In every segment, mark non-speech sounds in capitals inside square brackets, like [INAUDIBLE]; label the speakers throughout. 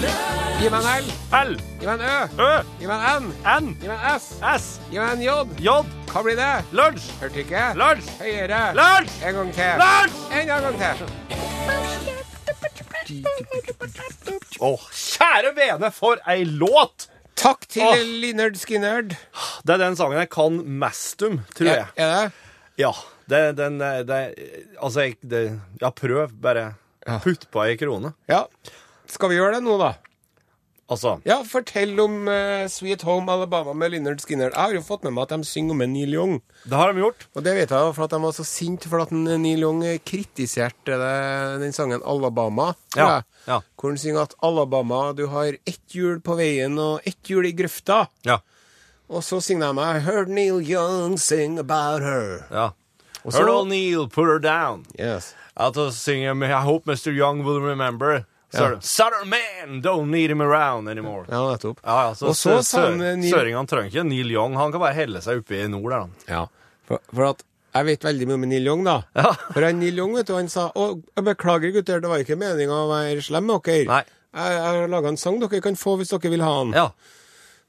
Speaker 1: Gi meg en L.
Speaker 2: L,
Speaker 1: Gi meg en Ø.
Speaker 2: Ø,
Speaker 1: Gi meg en N.
Speaker 2: N,
Speaker 1: Gi meg en S.
Speaker 2: S,
Speaker 1: Gi meg en J.
Speaker 2: J,
Speaker 1: Hva blir det?
Speaker 2: lunsj,
Speaker 1: Hørte ikke?
Speaker 2: lunsj,
Speaker 1: Høyere.
Speaker 2: lunsj,
Speaker 1: En gang til.
Speaker 2: lunsj!
Speaker 1: En gang til.
Speaker 2: Å, kjære vene, for ei låt!
Speaker 1: Takk til
Speaker 2: Åh.
Speaker 1: Linnard Skinnerd.
Speaker 2: Det er den sangen jeg kan mest om, tror
Speaker 1: Er
Speaker 2: jeg.
Speaker 1: det?
Speaker 2: Ja, det, den eh, det, Altså, jeg, det, ja, prøv. Bare putt på ei krone.
Speaker 1: Ja. Skal vi gjøre det nå, da?
Speaker 2: Altså
Speaker 1: Ja, fortell om eh, Sweet Home Alabama med Linnard Skinner. Jeg har jo fått med meg at de synger om en Neil Young.
Speaker 2: Det har de gjort.
Speaker 1: Og det vet jeg jo for at de var så sinte for at en Neil Young eh, kritiserte det, den sangen Alabama. tror
Speaker 2: Ja,
Speaker 1: jeg.
Speaker 2: ja.
Speaker 1: Hvor han synger at Alabama, du har ett hjul på veien og ett hjul i grøfta.
Speaker 2: Ja.
Speaker 1: Og så synger de I heard Neil Young sing about her.
Speaker 2: ja.
Speaker 1: Og
Speaker 2: Hør
Speaker 1: så,
Speaker 2: da, Neil, put her down.
Speaker 1: yes.
Speaker 2: At å synge med I hope Mr. Young will remember. Så
Speaker 1: Ja.
Speaker 2: er det, Southern man, don't need him around anymore.
Speaker 1: Ja, nettopp.
Speaker 2: Ja, ja, så,
Speaker 1: Og så
Speaker 2: sø-
Speaker 1: sa han, eh,
Speaker 2: sø-
Speaker 1: Neil- Mm.
Speaker 2: Søringene trenger ikke Neil Young. Han kan bare helle seg oppi i nord der, han.
Speaker 1: Ja. For, for at jeg vet veldig mye om Neil Young, da.
Speaker 2: Ja.
Speaker 1: [LAUGHS] For han Neil Young, vet du, han sa Å, jeg beklager, gutter, det var ikke meninga å være slem med dere.
Speaker 2: Nei.
Speaker 1: Jeg, jeg har laga en sang dere kan få hvis dere vil ha den.
Speaker 2: Ja.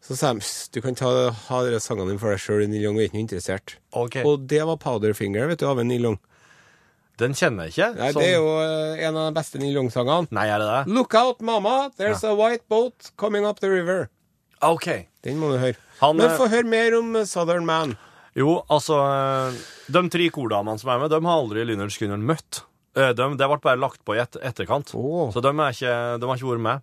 Speaker 1: Så sa de «Sst, du kan ta, ha dere sangene dine for deg sjøl, Neil Young er ikke noe interessert.
Speaker 2: OK.
Speaker 1: Og det var Powderfinger, vet du, av en Neil Young.
Speaker 2: Den kjenner jeg ikke.
Speaker 1: Nei,
Speaker 2: som-
Speaker 1: Det er jo eh, en av de beste Neil Young-sangene.
Speaker 2: Nei, er det det?
Speaker 1: Look out, mama, there's a white boat coming up the river.
Speaker 2: OK.
Speaker 1: Den må du høre.
Speaker 2: Han,
Speaker 1: Men
Speaker 2: eh,
Speaker 1: få høre mer om eh, Southern Man.
Speaker 2: Jo, altså eh, De tre kordamene som er med, de har aldri Lynnert Skynneren møtt. Eh, De, det ble bare lagt på i et, etterkant,
Speaker 1: Åh.
Speaker 2: så de, er ikke, de har ikke vært med.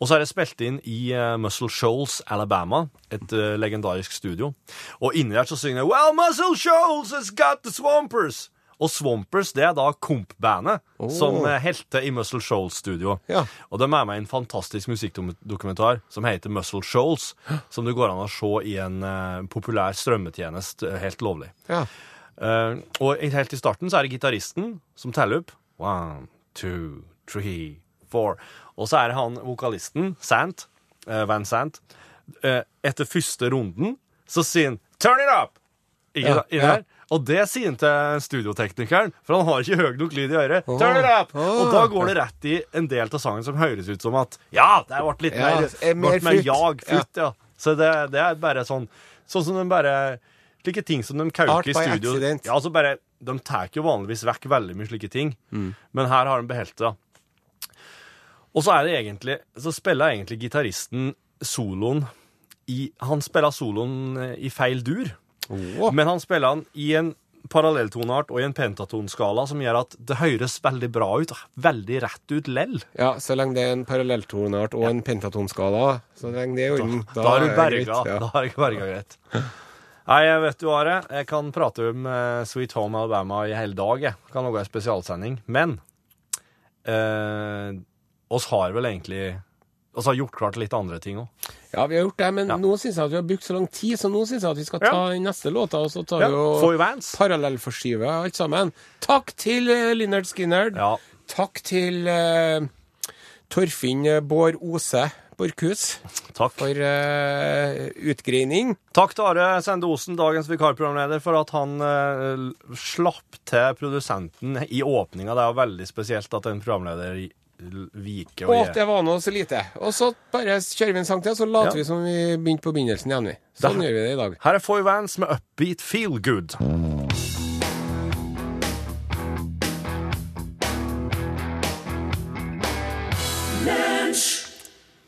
Speaker 2: Og så er det spilt inn i eh, Muscle Shoals, Alabama, et eh, legendarisk studio. Og inni der så synger de Well, Muscle Shoals has got the Swampers! Og Swampers det er da Komp-bandet som eh, helte i Muscle Shoals-studio.
Speaker 1: Ja.
Speaker 2: Og de er med i en fantastisk musikkdokumentar som heter Muscle Shoals, som det går an å se i en eh, populær strømmetjeneste, eh, helt lovlig.
Speaker 1: Ja.
Speaker 2: Eh, og i- helt i starten så er det gitaristen som teller opp. One, two, three, four. Og så er det han vokalisten, Sant, eh, Van Sant. Eh, etter første runden så sier han 'turn it up'! Ikke
Speaker 1: Ja,
Speaker 2: da- inni
Speaker 1: ja.
Speaker 2: der. Og det sier han til studioteknikeren, for han har ikke høy nok lyd i øret. 'Turn it up!'
Speaker 1: Åh.
Speaker 2: Og da går det rett i en del av sangen som høres ut som at Ja, det ble litt
Speaker 1: Ja,
Speaker 2: mer,
Speaker 1: eh, mer
Speaker 2: ble mer
Speaker 1: flytt.
Speaker 2: jag,
Speaker 1: Ja.
Speaker 2: flytt, ja. Så det, det er bare sånn Sånn som de bare Slike ting som de
Speaker 1: Art
Speaker 2: kauker i
Speaker 1: by
Speaker 2: studio.
Speaker 1: accident.
Speaker 2: Ja, altså bare, de tar jo vanligvis vekk veldig mye slike ting,
Speaker 1: Mm.
Speaker 2: men her har de beholdt det. da. Og så er det egentlig Så spiller egentlig gitaristen soloen i Han spiller soloen eh, i feil dur,
Speaker 1: Åh.
Speaker 2: men han spiller den i en parallelltonart og i en pentatonskala som gjør at det høres veldig bra ut. Veldig rett ut lell.
Speaker 1: Ja, så lenge det er en parallelltonart og en pentatonskala, så lenge det er i orden,
Speaker 2: Da har du
Speaker 1: er det
Speaker 2: berga.
Speaker 1: greit, ja.
Speaker 2: Da har jeg berga greit. Nei, jeg vet du, Are, jeg kan prate om eh, Sweet Home Alabama i hele dag. Jeg kan lage en spesialsending. Men eh, oss har vel egentlig oss har gjort klart litt andre ting òg.
Speaker 1: Ja, vi har gjort det, men
Speaker 2: Ja.
Speaker 1: nå syns jeg at vi har brukt så lang tid, så nå syns jeg at vi skal ta
Speaker 2: Ja.
Speaker 1: den neste låta, og så tar
Speaker 2: Ja,
Speaker 1: vi
Speaker 2: Foy
Speaker 1: og
Speaker 2: Vance.
Speaker 1: parallellforskyver alt sammen. Takk til eh, Linnard Skinner.
Speaker 2: Ja.
Speaker 1: Takk til eh, Torfinn eh, Bård Ose Borchhus
Speaker 2: Takk.
Speaker 1: for eh, utgreining.
Speaker 2: Takk til Are Sende Osen, dagens vikarprogramleder, for at han eh, slapp til produsenten i åpninga. Det er jo veldig spesielt at en programleder viker
Speaker 1: Å,
Speaker 2: og gir
Speaker 1: det var nå så lite. Og så bare kjører vi en sang til, så later
Speaker 2: Ja.
Speaker 1: vi som vi begynte på begynnelsen igjen, vi. Sånn
Speaker 2: Da-
Speaker 1: gjør vi det i dag.
Speaker 2: Her er Foy Vance med Upbeat Feel Good.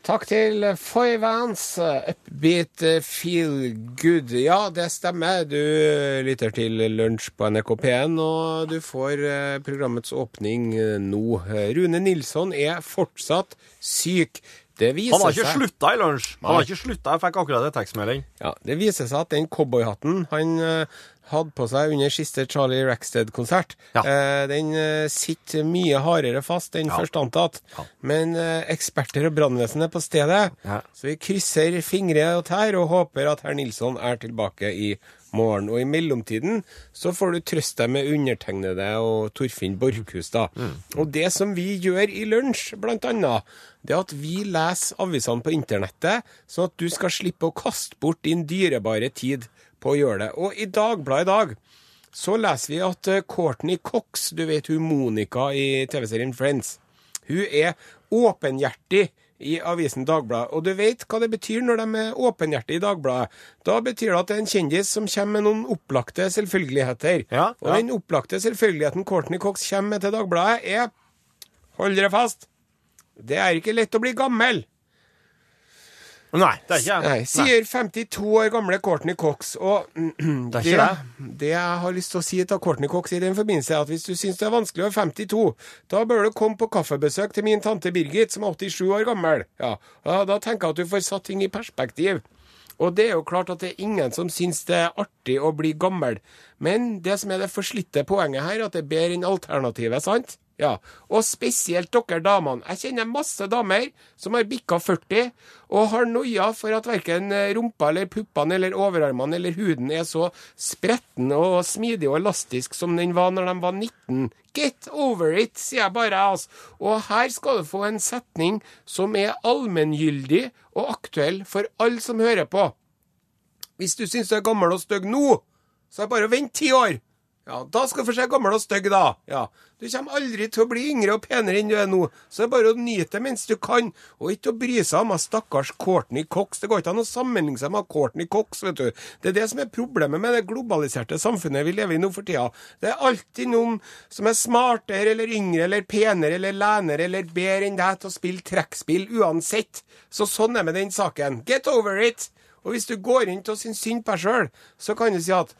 Speaker 1: Takk til Foy Vance, Upbeat eh, Feel Good. Ja, det stemmer. Du lytter til Lunsj på NRK P1, og du får eh, programmets åpning eh, nå. Rune Nilsson er fortsatt syk. Det viser
Speaker 2: Han har ikke
Speaker 1: seg
Speaker 2: slutta i lunsj. Han
Speaker 1: Nei.
Speaker 2: har ikke slutta. Jeg fikk akkurat en tekstmelding.
Speaker 1: Ja, det viser seg at den cowboyhatten han eh, hadde på seg under siste Charlie Rackstead-konsert,
Speaker 2: Ja.
Speaker 1: eh, den eh, sitter mye hardere fast enn først antatt.
Speaker 2: Ja.
Speaker 1: Men eh, eksperter og brannvesenet er på stedet,
Speaker 2: Ja.
Speaker 1: så vi krysser fingre og tær og håper at herr Nilsson er tilbake i morgen. Og i mellomtiden så får du trøste deg med undertegnede og Torfinn Borchhus, da. Og det som vi gjør i lunsj, blant annet, det er at vi leser avisene på internettet, sånn at du skal slippe å kaste bort din dyrebare tid på å gjøre det. Og i Dagbladet i dag så leser vi at eh, Courtney Cox, du vet hun Monica i TV-serien Friends, hun er åpenhjertig i avisen Dagbladet. Og du vet hva det betyr når de er åpenhjertige i Dagbladet. Da betyr det at det er en kjendis som kommer med noen opplagte selvfølgeligheter.
Speaker 2: Ja,
Speaker 1: Og
Speaker 2: ja.
Speaker 1: den opplagte selvfølgeligheten Courtney Cox kommer med til Dagbladet, er Hold dere fast! Det er ikke lett å bli gammel!
Speaker 2: Nei, det er ikke jeg.
Speaker 1: Nei, sier 52 år gamle Courtney Cox. Og [CLEARS THROAT]
Speaker 2: Det er
Speaker 1: det,
Speaker 2: ikke
Speaker 1: det jeg har lyst til å si til Courtney Cox i den forbindelse, er at hvis du syns det er vanskelig å være 52, da bør du komme på kaffebesøk til min tante Birgit, som er 87 år gammel. Ja, ja Da tenker jeg at du får satt ting i perspektiv. Og det er jo klart at det er ingen som syns det er artig å bli gammel. Men det som er det forslitte poenget her, at det er bedre enn alternativet, sant? Ja, og spesielt dere damene. Jeg kjenner masse damer som har bikka 40 og har noia for at verken rumpa eller puppene eller overarmene eller huden er så spretten og smidig og elastisk som den var når de var 19. Get over it, sier jeg bare. Altså. Og her skal du få en setning som er allmenngyldig og aktuell for alle som hører på. Hvis du syns du er gammel og stygg nå, så er det bare å vente ti år. Ja, Da skal du få se gammel og stygg, da. Ja, Du kommer aldri til å bli yngre og penere enn du er nå, så det er bare å nyte det mens du kan, og ikke å bry seg om at stakkars Courtney Cox. Det går ikke an å sammenligne seg med Courtney Cox, vet du. Det er det som er problemet med det globaliserte samfunnet vi lever i nå for tida. Det er alltid noen som er smartere eller yngre eller penere eller lenere eller bedre enn deg til å spille trekkspill uansett. Så sånn er det med den saken. Get over it! Og hvis du går rundt og syns synd på deg sjøl, så kan du si at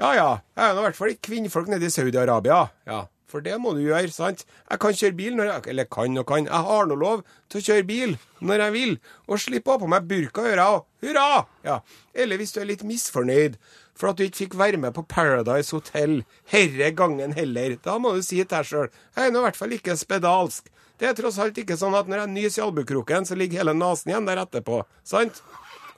Speaker 1: ja ja, jeg er nå i hvert fall ikke kvinnfolk nede i Saudi-Arabia. Ja, for det må du gjøre, sant? Jeg kan kjøre bil når jeg Eller kan og kan, jeg har nå lov til å kjøre bil når jeg vil, og slippe å ha på meg burka og ører og hurra! Ja. Eller hvis du er litt misfornøyd for at du ikke fikk være med på Paradise Hotel herre gangen heller, da må du si til deg sjøl jeg er nå i hvert fall ikke spedalsk. Det er tross alt ikke sånn at når jeg nyser i albukroken, så ligger hele nesen igjen der etterpå, sant?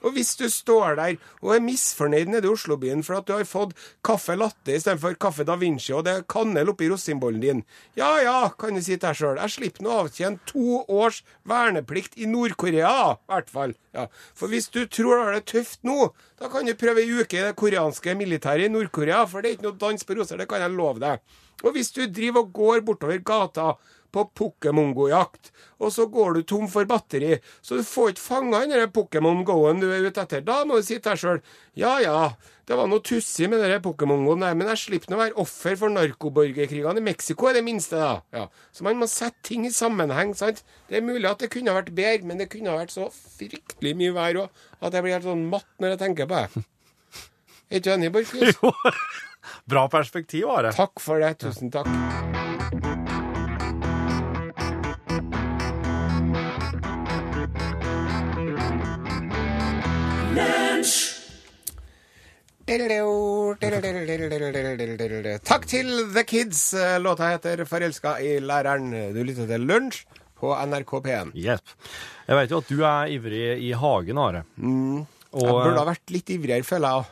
Speaker 1: Og hvis du står der og er misfornøyd nede i Oslobyen for at du har fått kaffe latte istedenfor kaffe da Vinci, og det er kanel oppi rosinbollen din Ja ja, kan du si til deg sjøl, jeg slipper nå å avtjene to års verneplikt i Nord-Korea, i hvert fall. Ja. For hvis du tror du har det tøft nå, da kan du prøve ei uke i det koreanske militæret i Nord-Korea, for det er ikke noe dans på roser, det kan jeg love deg. Og hvis du driver og går bortover gata på Pokémon-go-jakt, og så går du tom for batteri, så du får ikke fanga den der Pokémon Go-en du er ute etter. Da må du si til deg sjøl ja ja, det var noe tussig med den der Pokémon Go-en der, men jeg slipper nå å være offer for narkoborgerkrigene i Mexico, i det minste, da. Ja. Så man må sette ting i sammenheng, sant. Det er mulig at det kunne ha vært bedre, men det kunne ha vært så fryktelig mye verre òg, at jeg blir helt sånn matt når jeg tenker på det. Er du enig, Borchhus?
Speaker 2: Bra perspektiv, Are.
Speaker 1: Takk for det. Tusen takk. Takk til The Kids. Låta heter 'Forelska i læreren'. Du lytter til Lunsj på NRK P1.
Speaker 2: Hjelp. Jeg vet jo at du er ivrig i hagen, Are. Og,
Speaker 1: Mm. Jeg burde
Speaker 2: eh,
Speaker 1: ha vært litt ivrigere, føler jeg.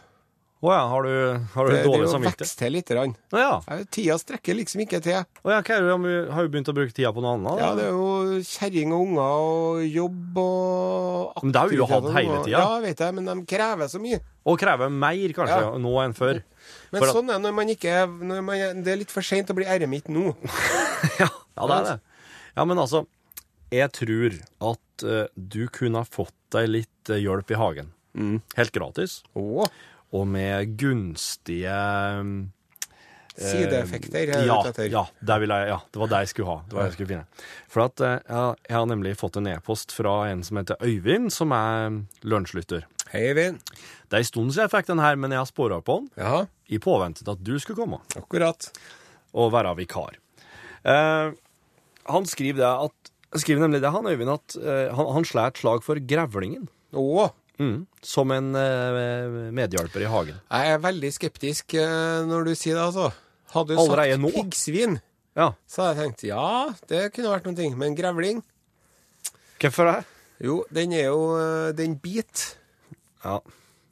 Speaker 2: Å ja, har du, har du
Speaker 1: Det, det er
Speaker 2: dårlig
Speaker 1: jo
Speaker 2: samvittighet?
Speaker 1: vekst til lite grann.
Speaker 2: Å ja.
Speaker 1: Jeg- Tida strekker liksom ikke til.
Speaker 2: Å ja hva er det, om vi- har du begynt å bruke tida på noe annet? da?
Speaker 1: Ja, det er jo kjerring og unger og jobb og
Speaker 2: Men det har vi jo hatt hele
Speaker 1: og-
Speaker 2: tida.
Speaker 1: Ja, vet jeg, men de krever så mye.
Speaker 2: Og krever mer, kanskje,
Speaker 1: Ja.
Speaker 2: nå enn
Speaker 1: [LAUGHS]
Speaker 2: før.
Speaker 1: Men
Speaker 2: For at-
Speaker 1: sånn er det når man ikke når man, er- Det er litt for seint å bli eremitt nå.
Speaker 2: Ja, det er det. Ja, men altså, jeg tror at eh, du kunne ha fått deg litt eh, hjelp i hagen. Helt gratis.
Speaker 1: Å,
Speaker 2: Og med gunstige eh,
Speaker 1: sideeffekter. jeg er
Speaker 2: Ja,
Speaker 1: ute etter.
Speaker 2: ja, der vil jeg, ja, det var det jeg skulle ha. Det var det jeg skulle finne. For at eh, jeg, jeg har nemlig fått en e-post fra en som heter Øyvind, som er eh, lunsjlytter.
Speaker 1: Hei, Eivind.
Speaker 2: Det er en stund siden jeg fikk den her, men jeg har spora på den
Speaker 1: Ja,
Speaker 2: i påvente til at du skulle komme
Speaker 1: akkurat.
Speaker 2: og være vikar. Eh, han skriver det at skriver nemlig det, han Øyvind, at eh, han, han slår et slag for grevlingen.
Speaker 1: Å,
Speaker 2: Mm, som en eh, medhjelper i hagen.
Speaker 1: jeg er veldig skeptisk eh, når du sier det, altså. Hadde du
Speaker 2: Allerede
Speaker 1: sagt
Speaker 2: nå?
Speaker 1: piggsvin,
Speaker 2: Ja.
Speaker 1: så hadde jeg tenkt ja, det kunne vært noen ting. Men grevling?
Speaker 2: Hvorfor det?
Speaker 1: Jo, den er jo eh, Den bit.
Speaker 2: Ja.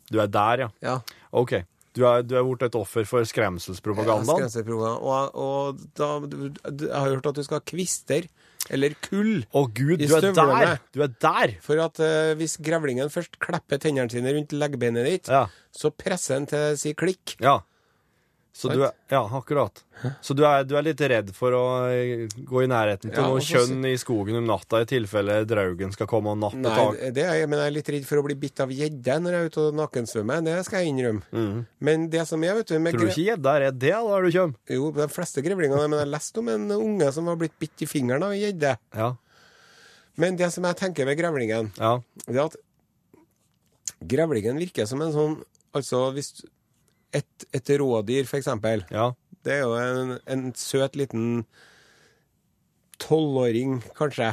Speaker 2: Du er der, ja.
Speaker 1: Ja.
Speaker 2: OK. Du er, du er blitt et offer for skremselspropagandaen.
Speaker 1: Ja, skremselspropaganda. Og, og da, du, du, jeg har hørt at du skal ha kvister, eller kull,
Speaker 2: Å gud, du
Speaker 1: I
Speaker 2: er
Speaker 1: støvlene.
Speaker 2: der! Du er der!
Speaker 1: for at eh, hvis grevlingen først klapper tennene sine rundt leggbeinet ditt,
Speaker 2: Ja.
Speaker 1: så presser den til si klikk.
Speaker 2: ja. Så du er, ja, akkurat. Så du er, du er litt redd for å eh, gå i nærheten til
Speaker 1: Ja,
Speaker 2: noe
Speaker 1: og så
Speaker 2: kjønn i skogen om natta i tilfelle draugen skal komme og nappe
Speaker 1: Nei,
Speaker 2: tak.
Speaker 1: det er, jeg, men jeg er litt redd for å bli bitt av gjedde når jeg er ute og nakensvømmer. Det skal jeg innrømme. Men det som er, vet du
Speaker 2: Mm.
Speaker 1: med
Speaker 2: Tror du
Speaker 1: gre-
Speaker 2: ikke gjedda er redd det, da, når du kommer?
Speaker 1: Jo, de fleste grevlingene Men jeg har lest om en unge som var blitt bitt i fingeren av en gjedde.
Speaker 2: Ja.
Speaker 1: Men det som jeg tenker med grevlingen,
Speaker 2: ja.
Speaker 1: det er at grevlingen virker som en sånn Altså, hvis et, et rådyr, for eksempel,
Speaker 2: Ja.
Speaker 1: det er jo en, en søt liten tolvåring, kanskje.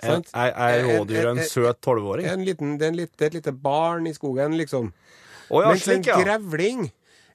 Speaker 2: Er,
Speaker 1: Sant?
Speaker 2: er, er
Speaker 1: En- en-
Speaker 2: rådyret en
Speaker 1: en-
Speaker 2: søt tolvåring?
Speaker 1: En liten, det, er en lit, det er et lite barn i skogen, liksom.
Speaker 2: Å ja,
Speaker 1: Mens en
Speaker 2: slik, ja.
Speaker 1: grevling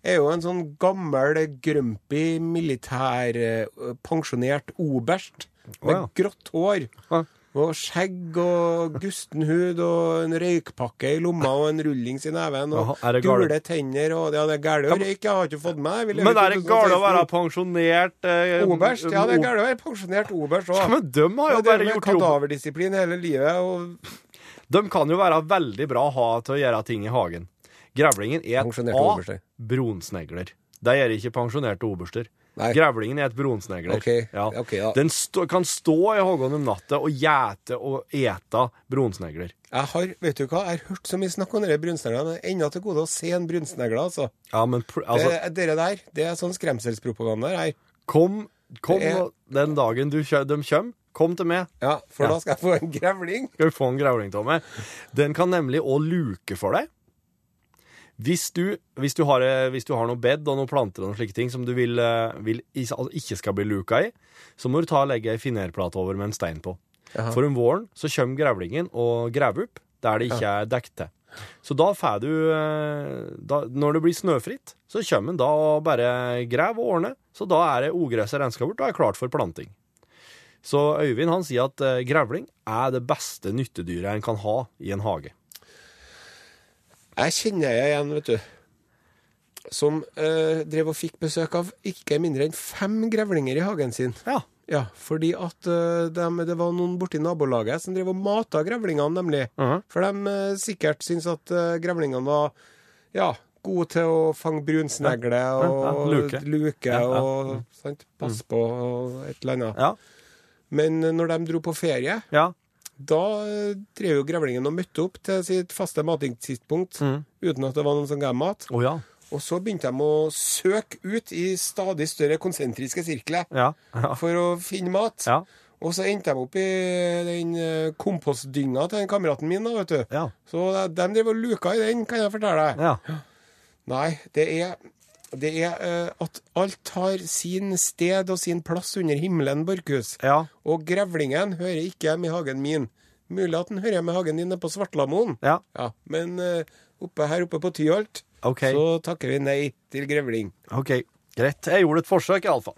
Speaker 1: er jo en sånn gammel, grumpy, militær, eh, pensjonert oberst
Speaker 2: Å,
Speaker 1: med
Speaker 2: ja.
Speaker 1: grått hår.
Speaker 2: Ja.
Speaker 1: Og skjegg og gusten hud og en røykpakke i lomma og en rullings i neven og
Speaker 2: Jaha, er det gale-
Speaker 1: gule tenner og Ja, det er galt å røyke, jeg har ikke fått med meg.
Speaker 2: Men er det galt å være pensjonert eh,
Speaker 1: Oberst? Ja, det er
Speaker 2: o-
Speaker 1: galt å være pensjonert oberst
Speaker 2: Ja,
Speaker 1: òg.
Speaker 2: Men de har
Speaker 1: Jeg
Speaker 2: jo
Speaker 1: har
Speaker 2: bare
Speaker 1: drevet med
Speaker 2: gjort jobb.
Speaker 1: kadaverdisiplin hele livet. og
Speaker 2: De kan jo være veldig bra å ha til å gjøre ting i hagen. Grevlingen er et
Speaker 1: Pensjonerte
Speaker 2: A.
Speaker 1: oberster.
Speaker 2: Bronsnegler. Det gjør ikke pensjonerte oberster.
Speaker 1: Nei.
Speaker 2: Grevlingen er et bronsnegler.
Speaker 1: Ok,
Speaker 2: Ja.
Speaker 1: ok, ja.
Speaker 2: Den stå, kan stå i hagen om natta og gjete og ete bronsnegler.
Speaker 1: Jeg har vet du hva, jeg har hørt så mye snakk om dere brunsneglene. Jeg har Ennå til gode å se en brunsnegle, altså.
Speaker 2: Ja, men pr-
Speaker 1: Det,
Speaker 2: altså,
Speaker 1: dere der, det er sånn skremselspropaganda her.
Speaker 2: kom, kom
Speaker 1: det er-
Speaker 2: nå- den dagen du kjø, de kommer, kom til meg.
Speaker 1: Ja, for
Speaker 2: Ja.
Speaker 1: da skal jeg få en grevling.
Speaker 2: Skal du få en grevling av meg? Den kan nemlig òg luke for deg. Hvis du, hvis, du har, eh, hvis du har noe bed og noen planter og noen slike ting som du vil, eh, vil is- altså ikke skal bli luka i, så må du ta og legge ei finerplate over med en stein på.
Speaker 1: Jaha.
Speaker 2: For om våren så kommer grevlingen og graver opp der det ikke er dekket til. Så da får du eh, da, Når det blir snøfritt, så kommer den da og bare graver og ordner. Så da er det ogresset renska bort og er klart for planting. Så Øyvind han sier at eh, grevling er det beste nyttedyret en kan ha i en hage.
Speaker 1: Jeg kjenner jeg igjen, vet du. Som eh, drev og fikk besøk av ikke mindre enn fem grevlinger i hagen sin.
Speaker 2: Ja.
Speaker 1: Ja, fordi at eh, dem- det var noen borti nabolaget som drev og mata grevlingene, nemlig. For de eh, sikkert syntes at eh, grevlingene var ja, gode til å fange brunsnegle og
Speaker 2: luke.
Speaker 1: luke
Speaker 2: Ja, ja. Mm.
Speaker 1: og sant, passe på og et eller annet.
Speaker 2: Ja.
Speaker 1: Men eh, når de dro på ferie,
Speaker 2: ja.
Speaker 1: da eh, drev jo grevlingen og møtte opp til sitt faste matingstidspunkt
Speaker 2: Mm.
Speaker 1: uten at det var noen som ga mat.
Speaker 2: Å ja.
Speaker 1: Og så begynte de å søke ut i stadig større konsentriske sirkler
Speaker 2: Ja. Ja.
Speaker 1: for å finne mat.
Speaker 2: ja.
Speaker 1: Og så endte de opp i den eh, kompostdynga til den kameraten min, da, vet du.
Speaker 2: Ja.
Speaker 1: Så de de drev og luka i den, kan jeg fortelle deg.
Speaker 2: ja.
Speaker 1: Nei, det er, det er eh, at alt har sin sted og sin plass under himmelen, Borkhus.
Speaker 2: ja.
Speaker 1: Og grevlingen hører ikke hjemme i hagen min. Mulig at den hører hjemme i hagen din nede på Svartlamoen.
Speaker 2: ja.
Speaker 1: Ja, men eh, oppe her oppe på Tyholt
Speaker 2: OK.
Speaker 1: så takker vi nei til grevling.
Speaker 2: OK. Greit. Jeg gjorde et forsøk, iallfall.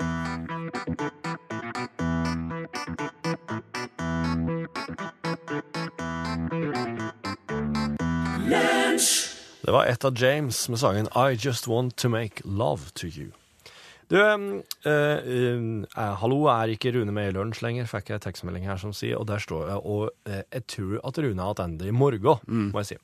Speaker 2: Det var ett av James med sangen I Just Want To Make Love To You. Du, um, eh, um, eh, hallo, jeg er ikke Rune med i lunsj lenger, fikk jeg en tekstmelding her som sier, og der står jeg, og eh, jeg tror at Rune har tilbake i morgen, må jeg si.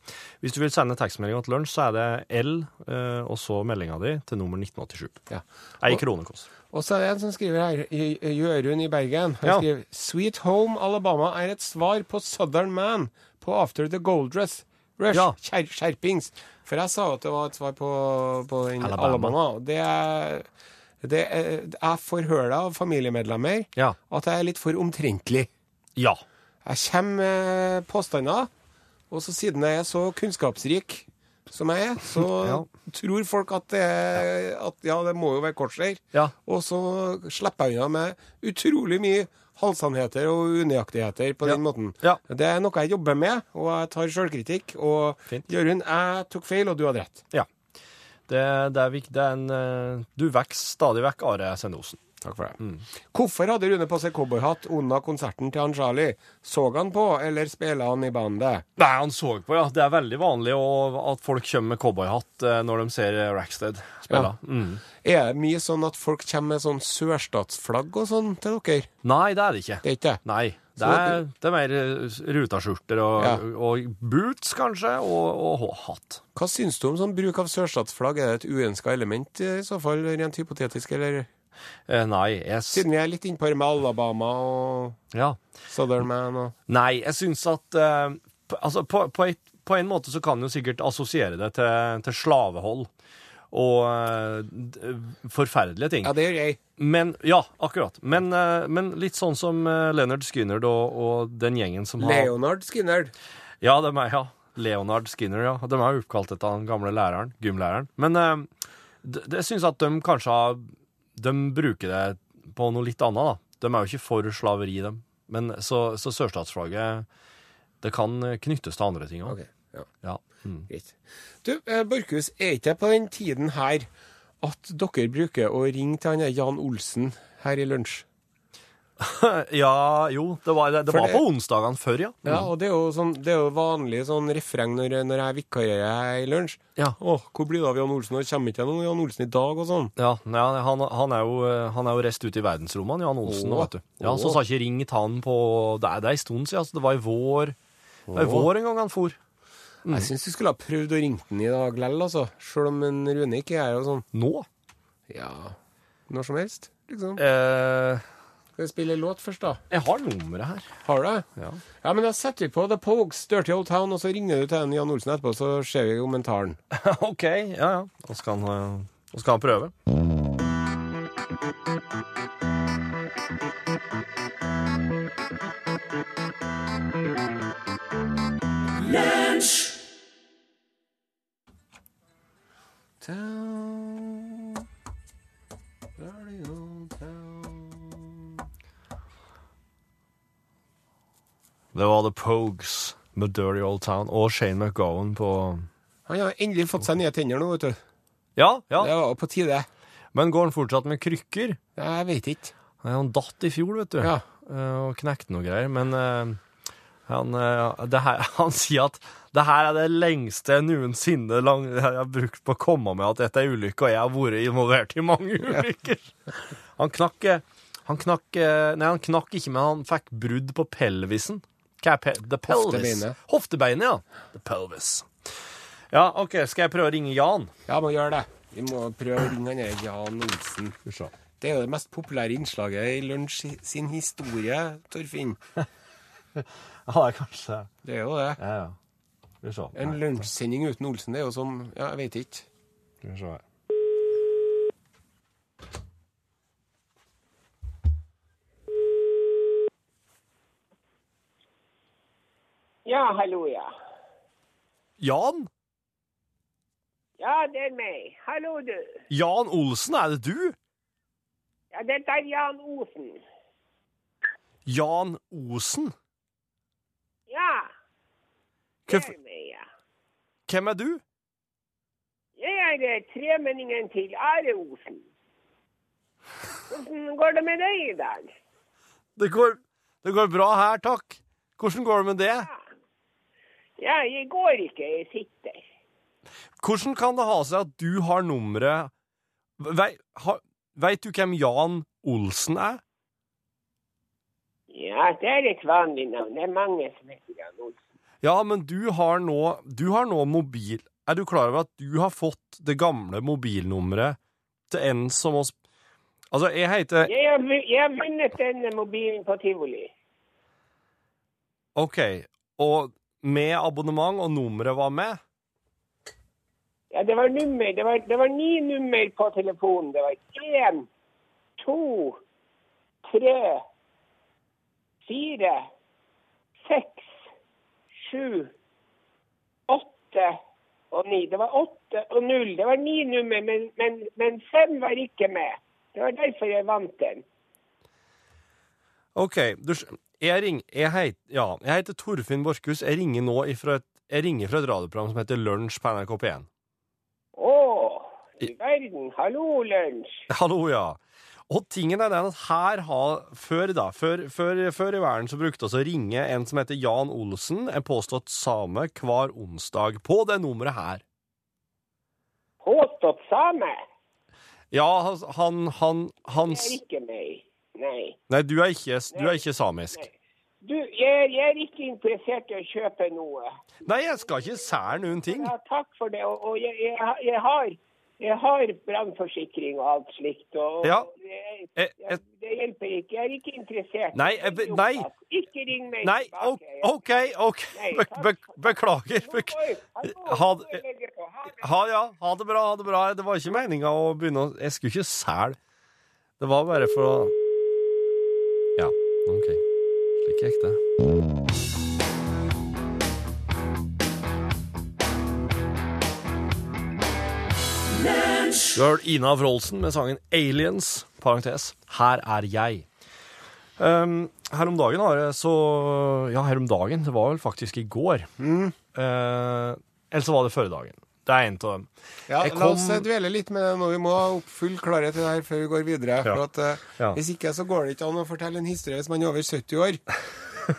Speaker 2: Hvis du vil sende tekstmelding til lunsj, så er det L, eh, og så meldinga di til nummer 1987.
Speaker 1: Ja.
Speaker 2: Ei krone koster.
Speaker 1: Og så er det en som skriver her, J- Jørund i Bergen. Han
Speaker 2: Ja.
Speaker 1: skriver Sweet Home Alabama er et svar på Southern Man på After the Gold Dress. Rush.
Speaker 2: Ja.
Speaker 1: Skjer, skjerpings. For jeg sa jo at det var et svar på, på den
Speaker 2: Alabama.
Speaker 1: Alabama. og Det er, det er, jeg får høre av familiemedlemmer
Speaker 2: Ja.
Speaker 1: at jeg er litt for omtrentlig.
Speaker 2: Ja.
Speaker 1: Jeg kommer med påstander, og så siden jeg er så kunnskapsrik som jeg er, så
Speaker 2: [LAUGHS]
Speaker 1: tror folk at det, er- at, ja, det må jo være kortskjær.
Speaker 2: Ja.
Speaker 1: Og så slipper jeg unna med utrolig mye halvsannheter og unøyaktigheter på den måten.
Speaker 2: Ja.
Speaker 1: Det er noe jeg jobber med, og jeg tar sjølkritikk. Og
Speaker 2: Fint.
Speaker 1: Jørund, jeg tok feil, og du hadde rett.
Speaker 2: ja. Det, det er viktig. Det er en eh, Du vokser stadig vekk, Are Sendosen.
Speaker 1: Takk for det. Mm. Hvorfor hadde Rune på seg cowboyhatt under konserten til han Charlie? Så han på, eller spilte han i bandet?
Speaker 2: Nei, han så på, ja. Det er veldig vanlig å, at folk kommer med cowboyhatt eh, når de ser Rackstead spille.
Speaker 1: Ja.
Speaker 2: Mm.
Speaker 1: Er det mye sånn at folk kommer med sånn sørstatsflagg og sånn til dere?
Speaker 2: Nei, det er det ikke.
Speaker 1: Det er ikke det?
Speaker 2: Nei. Det er, det er mer eh, rutaskjorter og,
Speaker 1: Ja.
Speaker 2: og boots, kanskje, og, og h- hatt.
Speaker 1: Hva syns du om sånn bruk av sørstatsflagg? Er det et uønska element eh, i så fall, rent hypotetisk? Eller
Speaker 2: Eh, nei, jeg, s-
Speaker 1: siden vi er litt innpå her med Alabama og
Speaker 2: ja.
Speaker 1: Southern Man og
Speaker 2: nei, jeg syns at eh, p- altså, på, på, et, på en måte så kan du sikkert assosiere det til, til slavehold og eh, d- forferdelige ting.
Speaker 1: Ja, det gjør jeg.
Speaker 2: Men, ja, akkurat. Men, eh, men litt sånn som eh, Leonard Skinner og, og den gjengen som har
Speaker 1: Leonard Skinner.
Speaker 2: Ja, dem er, ja. Leonard Skinner, ja. De er jo oppkalt etter den gamle læreren, gymlæreren. Men eh, d- det- jeg syns at de kanskje har De bruker det på noe litt annet, da. De er jo ikke for slaveri, dem. Men så, så sørstatsflagget Det kan knyttes til andre ting òg.
Speaker 1: Ok, ja.
Speaker 2: Ja. Mm. [LAUGHS]
Speaker 1: Greit. Du, eh, Borchhus, er ikke jeg på den tiden her at dere bruker å ringe til han der Jan Olsen her i lunsj?
Speaker 2: ja, jo. Det var, det, det
Speaker 1: For
Speaker 2: var
Speaker 1: det-
Speaker 2: på onsdagene før, ja.
Speaker 1: Ja, og det er jo, sånn, det er jo vanlig sånn refreng når, når jeg vikarierer her i lunsj.
Speaker 2: Ja.
Speaker 1: Å, hvor blir det av Jan Olsen? Og Kommer ikke jeg noen Jan Olsen i dag og sånn?
Speaker 2: Ja, ja han, han, er jo, han er jo rest ute i verdensrommet, han, Jan Olsen. nå,
Speaker 1: Åh.
Speaker 2: vet du. Ja, Så
Speaker 1: Åh.
Speaker 2: sa ikke ring til han på Det er, det er en stund siden, altså. Det var i vår. Det var i vår en gang han for.
Speaker 1: Jeg syns du skulle ha prøvd å ringe den i dag lell, altså. Sjøl om en Rune ikke er jo sånn
Speaker 2: Nå?
Speaker 1: ja, når som helst, liksom.
Speaker 2: Eh,
Speaker 1: Skal vi spille låt først, da?
Speaker 2: jeg har nummeret her.
Speaker 1: Har du det?
Speaker 2: Ja.
Speaker 1: Ja, men da setter vi på The Pogues, Dirty Old Town, og så ringer du til en Jan Olsen etterpå, så ser vi kommentaren.
Speaker 2: OK. [LAUGHS] Ja, ja. Nå skal han, eh, nå skal han prøve.
Speaker 1: Town, dirty old town.
Speaker 2: Det var The Pogues med Dirty Old Town og Shane McGowan på
Speaker 1: Han har endelig fått seg nye tenner nå, vet du.
Speaker 2: Ja, ja.
Speaker 1: Det var på tide.
Speaker 2: Men går han fortsatt med krykker?
Speaker 1: Nei, Jeg vet ikke.
Speaker 2: Nei, Han datt i fjor, vet du.
Speaker 1: Ja.
Speaker 2: eh, og knekte noe greier. Men eh, han, eh, det her, [LAUGHS] han sier at det her er det lengste jeg noensinne lang, jeg har brukt på å komme med at dette er ulykke, og jeg har vært involvert i mange ulykker. [LAUGHS] Han knakk eh, han knakk, eh, nei, han knakk ikke, men han fikk brudd på pelvisen. Hva er pe the pelvis?
Speaker 1: Hoftebeinet.
Speaker 2: Hoftebeinet, ja. The pelvis. Ja, OK, skal jeg prøve å ringe Jan?
Speaker 1: Ja, må gjøre det. Vi må prøve å ringe han der Jan Olsen. Det er jo det mest populære innslaget i Lunsj sin historie, Torfinn.
Speaker 2: Ja, det er kanskje
Speaker 1: Det er jo det.
Speaker 2: Ja, ja. Skal vi se.
Speaker 1: En lunsjsending uten Olsen, det er jo som Ja, jeg vet ikke.
Speaker 2: Skal vi se her.
Speaker 3: Ja, hallo, ja.
Speaker 2: Jan?
Speaker 3: Ja, det er meg. Hallo, du.
Speaker 2: Jan Olsen, er det du?
Speaker 3: Ja, dette er Jan Osen.
Speaker 2: Jan Osen?
Speaker 3: Ja, det
Speaker 2: Hvem,
Speaker 3: er meg, ja.
Speaker 2: hvem er du?
Speaker 3: Jeg er eh, tremenningen til Are Osen. Hvordan går det med deg i dag?
Speaker 2: Det går, det går bra her, takk. Hvordan går det med det?
Speaker 3: Ja, jeg går ikke, jeg sitter.
Speaker 2: Hvordan kan det ha seg at du har nummeret Vei, ha, Veit du hvem Jan Olsen er?
Speaker 3: Ja, det er et vanlig navn. Det er mange som heter Jan Osen.
Speaker 2: Ja, men du har nå, du har nå mobil Er du klar over at du har fått det gamle mobilnummeret til en som oss Altså, jeg heter
Speaker 3: Jeg har, vu- jeg har vunnet denne mobilen på Tivoli.
Speaker 2: OK, og med abonnement, og nummeret var med?
Speaker 3: Ja, det var nummer. Det var, det var ni nummer på telefonen. Det var én, to, tre, fire, seks, sju, åtte og ni. Det var åtte og null. Det var ni nummer, men, men, men fem var ikke med. Det var derfor jeg vant den.
Speaker 2: Ok, du, sk- jeg, ring, jeg, heit, ja, jeg heter Torfinn Borchhus. Jeg ringer nå ifra et, jeg ringer fra et radioprogram som heter Lunsj på NRK P1.
Speaker 3: Å, i verden. Hallo, lunsj.
Speaker 2: [LAUGHS] Hallo, ja. Og tingen er den at her har Før da, før, før, før i verden så brukte oss å ringe en som heter Jan Olsen, en påstått same, hver onsdag på det nummeret her.
Speaker 3: Påstått same.
Speaker 2: Ja, han, han, han
Speaker 3: Det
Speaker 2: hans
Speaker 3: er ikke meg. Nei.
Speaker 2: Nei, du er ikke, du er ikke samisk.
Speaker 3: Du, jeg, jeg er ikke interessert i å kjøpe noe.
Speaker 2: Nei, jeg skal ikke sære noen ting.
Speaker 3: Ja, takk for det. Og, og jeg, jeg, har- jeg har, jeg har brannforsikring og alt slikt. Og
Speaker 2: Ja.
Speaker 3: og jeg,
Speaker 2: Eh, eh.
Speaker 3: jeg, det hjelper ikke. Jeg er ikke interessert.
Speaker 2: Nei, jeg be- nei.
Speaker 3: Ikke ring meg
Speaker 2: Nei, oh, o- OK, OK. Be be beklager. Bek ha, det-
Speaker 3: det.
Speaker 2: ha, ja, ha det bra, ha det bra. Det var ikke meninga å begynne å Jeg skulle ikke sæle. Det var bare for å Ja, OK. Slik gikk det. Du har hørt Ina Wroldsen med sangen 'Aliens', parentes, 'Her er jeg'. Um, her om dagen har jeg så Ja, her om dagen. Det var vel faktisk i går. Eh, eller så var det forrige dagen. Det er en av dem.
Speaker 1: Ja,
Speaker 2: Jeg
Speaker 1: La
Speaker 2: kom-
Speaker 1: oss eh, dvele litt med det nå. Vi må ha opp full klarhet i det her før vi går videre.
Speaker 2: Ja.
Speaker 1: For at, eh,
Speaker 2: Ja.
Speaker 1: Hvis ikke så går det ikke an å fortelle en historie hvis man er over 70 år.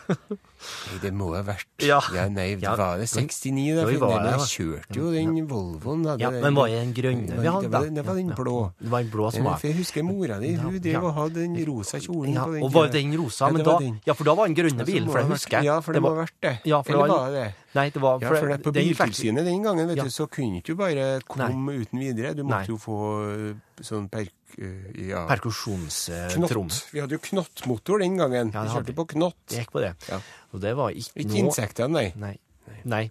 Speaker 1: [LAUGHS] Nei, det må ha vært
Speaker 2: Ja.
Speaker 1: nei,
Speaker 2: Ja,
Speaker 1: det 69, da?
Speaker 2: når vi
Speaker 1: for-
Speaker 2: var der,
Speaker 1: nei, men
Speaker 2: da.
Speaker 1: kjørte jo den Volvoen. da,
Speaker 2: Ja,
Speaker 1: det-
Speaker 2: men var det den grønne
Speaker 1: Nei,
Speaker 2: vi hadde,
Speaker 1: Det var,
Speaker 2: da?
Speaker 1: det var den
Speaker 2: Ja.
Speaker 1: blå.
Speaker 2: Det var en blå som
Speaker 1: Ja,
Speaker 2: var-
Speaker 1: for Jeg husker mora di. Hun
Speaker 2: ja.
Speaker 1: drev og hadde den rosa kjolen
Speaker 2: Ja,
Speaker 1: på den
Speaker 2: og var
Speaker 1: tiden.
Speaker 2: den rosa?
Speaker 1: Ja,
Speaker 2: men
Speaker 1: det
Speaker 2: da,
Speaker 1: var den.
Speaker 2: ja, for da var den grønne bilen, for det
Speaker 1: må ha vært-
Speaker 2: husker jeg.
Speaker 1: Ja, for det må ha vært det.
Speaker 2: Ja, for det
Speaker 1: Eller
Speaker 2: var,
Speaker 1: var det det?
Speaker 2: Nei, det var
Speaker 1: Ja, for det, på
Speaker 2: den fikk-
Speaker 1: Biltilsynet den gangen vet
Speaker 2: Ja.
Speaker 1: du, så kunne du ikke bare komme uten videre. Du
Speaker 2: Nei.
Speaker 1: måtte jo få eh, sånn perk... eh, Ja.
Speaker 2: Perkusjonstromme.
Speaker 1: Knott. Vi hadde jo knottmotor den
Speaker 2: Ja, det
Speaker 1: gangen. vi
Speaker 2: hadde
Speaker 1: kjørte på knott.
Speaker 2: Det gikk på det.
Speaker 1: Ja.
Speaker 2: Og det var ikke,
Speaker 1: Ikke
Speaker 2: noe
Speaker 1: insektene, nei.
Speaker 2: Nei. Nei.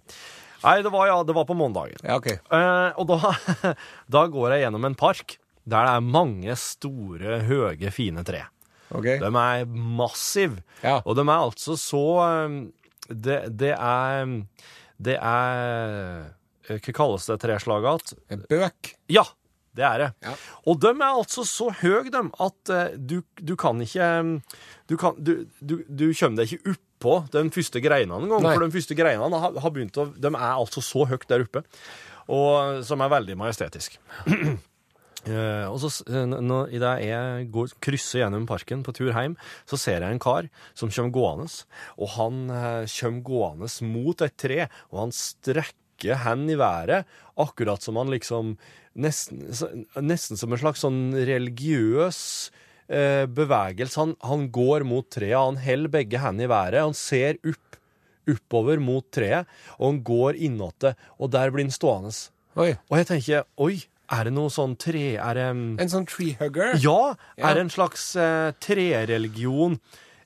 Speaker 2: Nei, det var, ja, det var på mandagen.
Speaker 1: Ja, ok.
Speaker 2: Eh, og da, [LAUGHS] da går jeg gjennom en park der det er mange store, høye, fine tre.
Speaker 1: ok.
Speaker 2: De er massive,
Speaker 1: Ja.
Speaker 2: og de er altså så eh, Det, det er um, Det er eh, Hva kalles det treslaget igjen?
Speaker 1: Bøk.
Speaker 2: Ja, det er det.
Speaker 1: Ja.
Speaker 2: Og de er altså så høye, dem, at eh, du, du kan ikke mm, Du, kan, du, du, du kommer deg ikke oppå de første greinene engang,
Speaker 1: Nei.
Speaker 2: for de første greinene har, har begynt å De er altså så høyt der oppe, og, som er veldig majestetisk. Eh, og så, s- eh, n- nå, I det jeg går, krysser gjennom parken på tur hjem, så ser jeg en kar som kommer gående. Og han eh, kommer gående mot et tre, og han strekker hendene i været, akkurat som han liksom Nesten, så- nesten som en slags sånn religiøs eh, bevegelse. Han, han går mot treet, han holder begge hendene i været, han ser opp, oppover mot treet, og han går innatte, og der blir han stående.
Speaker 1: Oi.
Speaker 2: Og jeg tenker, oi, er det noe sånn tre... Er det,
Speaker 1: En sånn treehugger.
Speaker 2: ja,
Speaker 1: Ja.
Speaker 2: er det en slags eh, trereligion?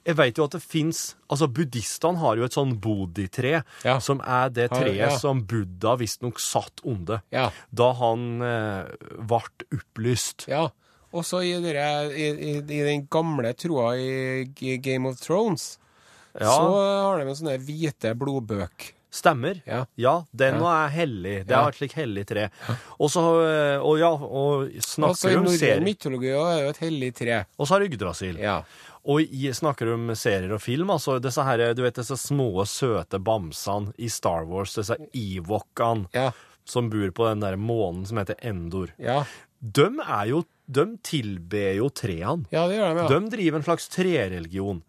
Speaker 2: Jeg vet jo at det fins Altså, buddhistene har jo et sånn bodhi-tre,
Speaker 1: Ja.
Speaker 2: som er det
Speaker 1: Har-
Speaker 2: treet
Speaker 1: ja.
Speaker 2: som Buddha visstnok satt under
Speaker 1: Ja.
Speaker 2: da han eh, ble opplyst.
Speaker 1: Ja. Også i, dere, i, i, i den gamle troa i G- Game of Thrones, så har de en sånne hvite blodbøk.
Speaker 2: Stemmer.
Speaker 1: Ja.
Speaker 2: den nå er hellig. Det
Speaker 1: Ja.
Speaker 2: er et slik hellig tre. Og så eh, Og ja, og
Speaker 1: Også i
Speaker 2: snakker om
Speaker 1: norrøn
Speaker 2: serier.
Speaker 1: mytologi også er det jo et hellig tre.
Speaker 2: Og så har Yggdrasil.
Speaker 1: Ja.
Speaker 2: Og i, snakker om serier og film, altså disse her, du vet, disse små, søte bamsene i Star Wars, disse Ewokene
Speaker 1: Ja.
Speaker 2: som bor på den der månen som heter Endor.
Speaker 1: Ja,
Speaker 2: De er jo, de tilber jo treene.
Speaker 1: ja det gjør de, ja.
Speaker 2: De driver en slags trereligion.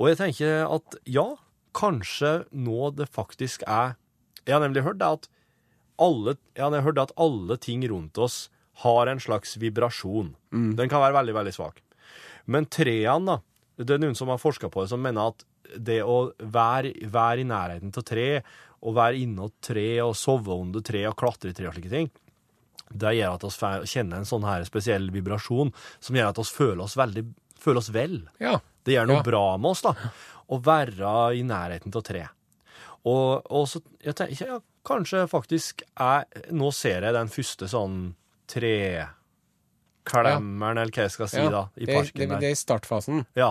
Speaker 2: Og jeg tenker at ja, kanskje nå det faktisk er Jeg har nemlig hørt det at alle, jeg har hørt det at alle ting rundt oss har en slags vibrasjon.
Speaker 1: Mm.
Speaker 2: Den kan være veldig, veldig svak. Men treene, da Det er noen som har forska på det, som mener at det å være, være i nærheten av tre, og være innåt tre, og sove under tre, og klatre i tre og slike ting, det gjør at oss fe- kjenner en sånn her spesiell vibrasjon som gjør at oss føler oss veldig føler oss vel.
Speaker 1: Ja.
Speaker 2: Det gjør noe
Speaker 1: Ja.
Speaker 2: bra med oss, da. Å være i nærheten av tre. Og, og så jeg tenker ja, kanskje faktisk jeg Nå ser jeg den første sånn treklemmeren, eller hva jeg skal si,
Speaker 1: Ja,
Speaker 2: da, i
Speaker 1: det,
Speaker 2: parken
Speaker 1: det, det er i startfasen.
Speaker 2: der. Ja.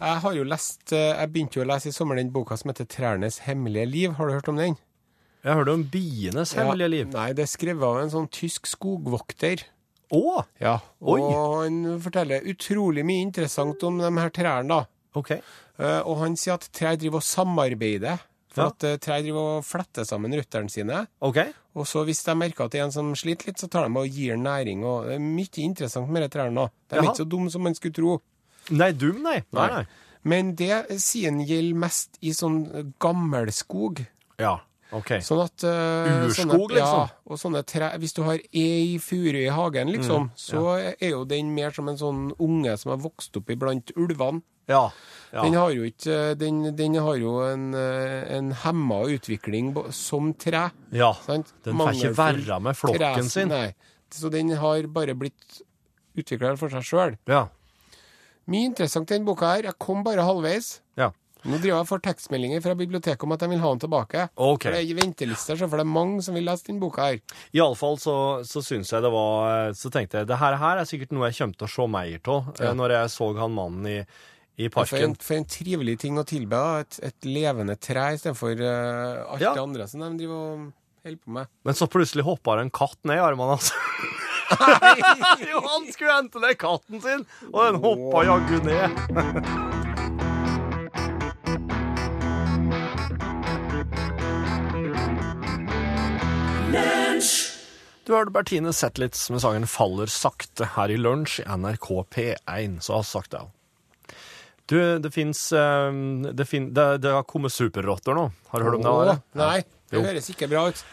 Speaker 1: Jeg har jo lest eh, Jeg begynte jo å lese i sommer den boka som heter 'Trærnes hemmelige liv'. Har du hørt om den?
Speaker 2: Jeg hørte om bienes hemmelige liv.
Speaker 1: Nei, det er skrevet av en sånn tysk skogvokter.
Speaker 2: Å!
Speaker 1: Ja,
Speaker 2: Oi.
Speaker 1: og han forteller utrolig mye interessant om de her trærne, da.
Speaker 2: OK.
Speaker 1: Eh, Og han sier at trær driver og samarbeider. For
Speaker 2: Ja.
Speaker 1: at eh, trær driver og fletter sammen røttene sine.
Speaker 2: OK.
Speaker 1: Og så hvis de merker at det er en som sliter litt, så tar de og gir næring. Og det er mye interessant med de trærne. da. De er
Speaker 2: Jaha.
Speaker 1: ikke så dumme som man skulle tro.
Speaker 2: Nei, dum, nei. Nei, nei.
Speaker 1: Nei. Men det siden gjelder mest i sånn gammel skog.
Speaker 2: Ja. OK.
Speaker 1: Sånn at eh,
Speaker 2: Urskog,
Speaker 1: sånne,
Speaker 2: liksom?
Speaker 1: Ja, og sånne tre, hvis du har ei furu
Speaker 2: Mm,
Speaker 1: i hagen, liksom, så er jo den mer som en sånn unge som har vokst opp iblant ulvene.
Speaker 2: Ja.
Speaker 1: Den
Speaker 2: ja.
Speaker 1: har jo ikke Den, den har jo en, eh, en hemma utvikling bo- som tre.
Speaker 2: ja.
Speaker 1: Sant?
Speaker 2: Den får ikke
Speaker 1: Mangelfull
Speaker 2: være med flokken
Speaker 1: tres-
Speaker 2: sin.
Speaker 1: Nei. Så den har bare blitt utvikla for seg sjøl.
Speaker 2: Ja.
Speaker 1: Mye interessant i denne boka her. Jeg kom bare halvveis.
Speaker 2: ja.
Speaker 1: Nå driver jeg og får tekstmeldinger fra biblioteket om at de vil ha den tilbake.
Speaker 2: Ok.
Speaker 1: For det er ventelister, så for det er mange som vil lese denne boka her.
Speaker 2: Iallfall så, så syns jeg det var Så tenkte jeg det her, her er sikkert noe jeg kommer til å se mer av eh, når jeg så han mannen i, i
Speaker 1: For en,
Speaker 2: parken.
Speaker 1: for en trivelig ting å tilbe. da. Et, et levende tre istedenfor uh, alt
Speaker 2: Ja.
Speaker 1: det andre som de driver og holder på med.
Speaker 2: Men så plutselig hoppa det en katt ned i armene hans. [LAUGHS] jo, han skulle hente ned katten sin, og den hoppa jaggu ned. Du hørte Bertine Zetlitz med sangen 'Faller sakte' her i lunsj i NRK P1, så har jeg sagt det òg. Du, det fins det, fin, det, det har kommet superrotter nå. Har du hørt om det?
Speaker 1: Åh,
Speaker 2: Are?
Speaker 1: Nei, det
Speaker 2: Jo.
Speaker 1: høres ikke bra ut.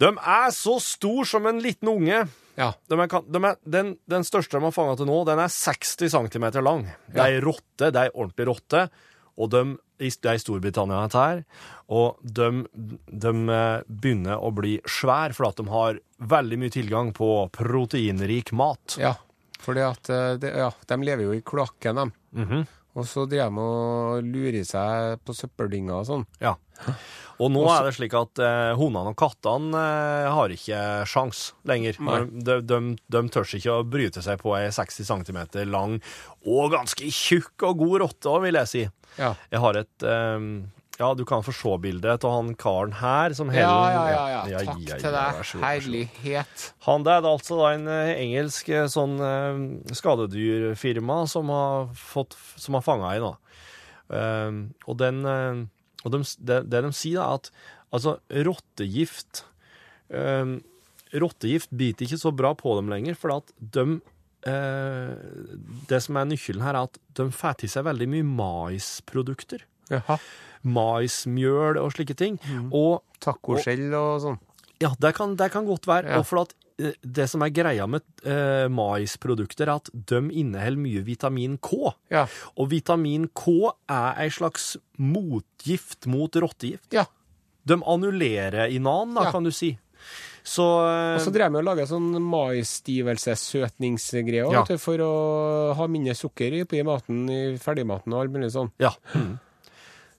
Speaker 2: De er så stor som en liten unge.
Speaker 1: Ja.
Speaker 2: De er, kan- de er, den, den største de har fanga til nå, den er 60 cm lang. Det er ei rotte, det er ei ordentlig rotte. Og de, i- det er i Storbritannia, dette her. Og de, de eh, begynner å bli svær, for at de har veldig mye tilgang på proteinrik mat.
Speaker 1: ja. Fordi at eh, det, ja, de lever jo i kloakken, de.
Speaker 2: Mhm.
Speaker 1: Og så driver de og lurer seg på søppeldynga og sånn.
Speaker 2: Ja. Og nå er det slik at eh, hundene og kattene eh, har ikke sjans lenger. De, de, de tør ikke å bryte seg på ei 60 cm lang og ganske tjukk og god rotte, også, vil jeg si.
Speaker 1: Ja.
Speaker 2: Jeg har et eh, Ja, du kan få se bildet av han karen her som
Speaker 1: Ja,
Speaker 2: heller-
Speaker 1: ja, ja, ja. Takk
Speaker 2: ja, ja, vær
Speaker 1: til
Speaker 2: så
Speaker 1: deg.
Speaker 2: god, vær så god.
Speaker 1: Herlighet.
Speaker 2: Han der det er altså da en eh, engelsk eh, sånn eh, skadedyrfirma som har, fått- som har fanga en, da. Ehm, og den, eh, og de, det, det de sier, er at altså, rottegift ehm, Rottegift biter ikke så bra på dem lenger, for at de eh, Det som er nøkkelen her, er at de får til seg veldig mye maisprodukter.
Speaker 1: Jaha.
Speaker 2: Maismjøl og slike ting. Og
Speaker 1: Tacoskjell og sånn.
Speaker 2: ja, det kan, det kan godt være.
Speaker 1: Ja.
Speaker 2: Og for at eh, det som er greia med eh, maisprodukter, er at de inneholder mye vitamin K.
Speaker 1: Ja.
Speaker 2: Og vitamin K er ei slags motgift mot rottegift.
Speaker 1: ja.
Speaker 2: De annullerer inan, da,
Speaker 1: Ja.
Speaker 2: kan du si. Så eh,
Speaker 1: Og så drev vi og laga sånn maisstivelsessøtningsgreier
Speaker 2: Ja.
Speaker 1: vet du, for å ha mindre sukker i- oppi maten, i ferdigmaten og alt mulig sånn.
Speaker 2: Ja. Mm.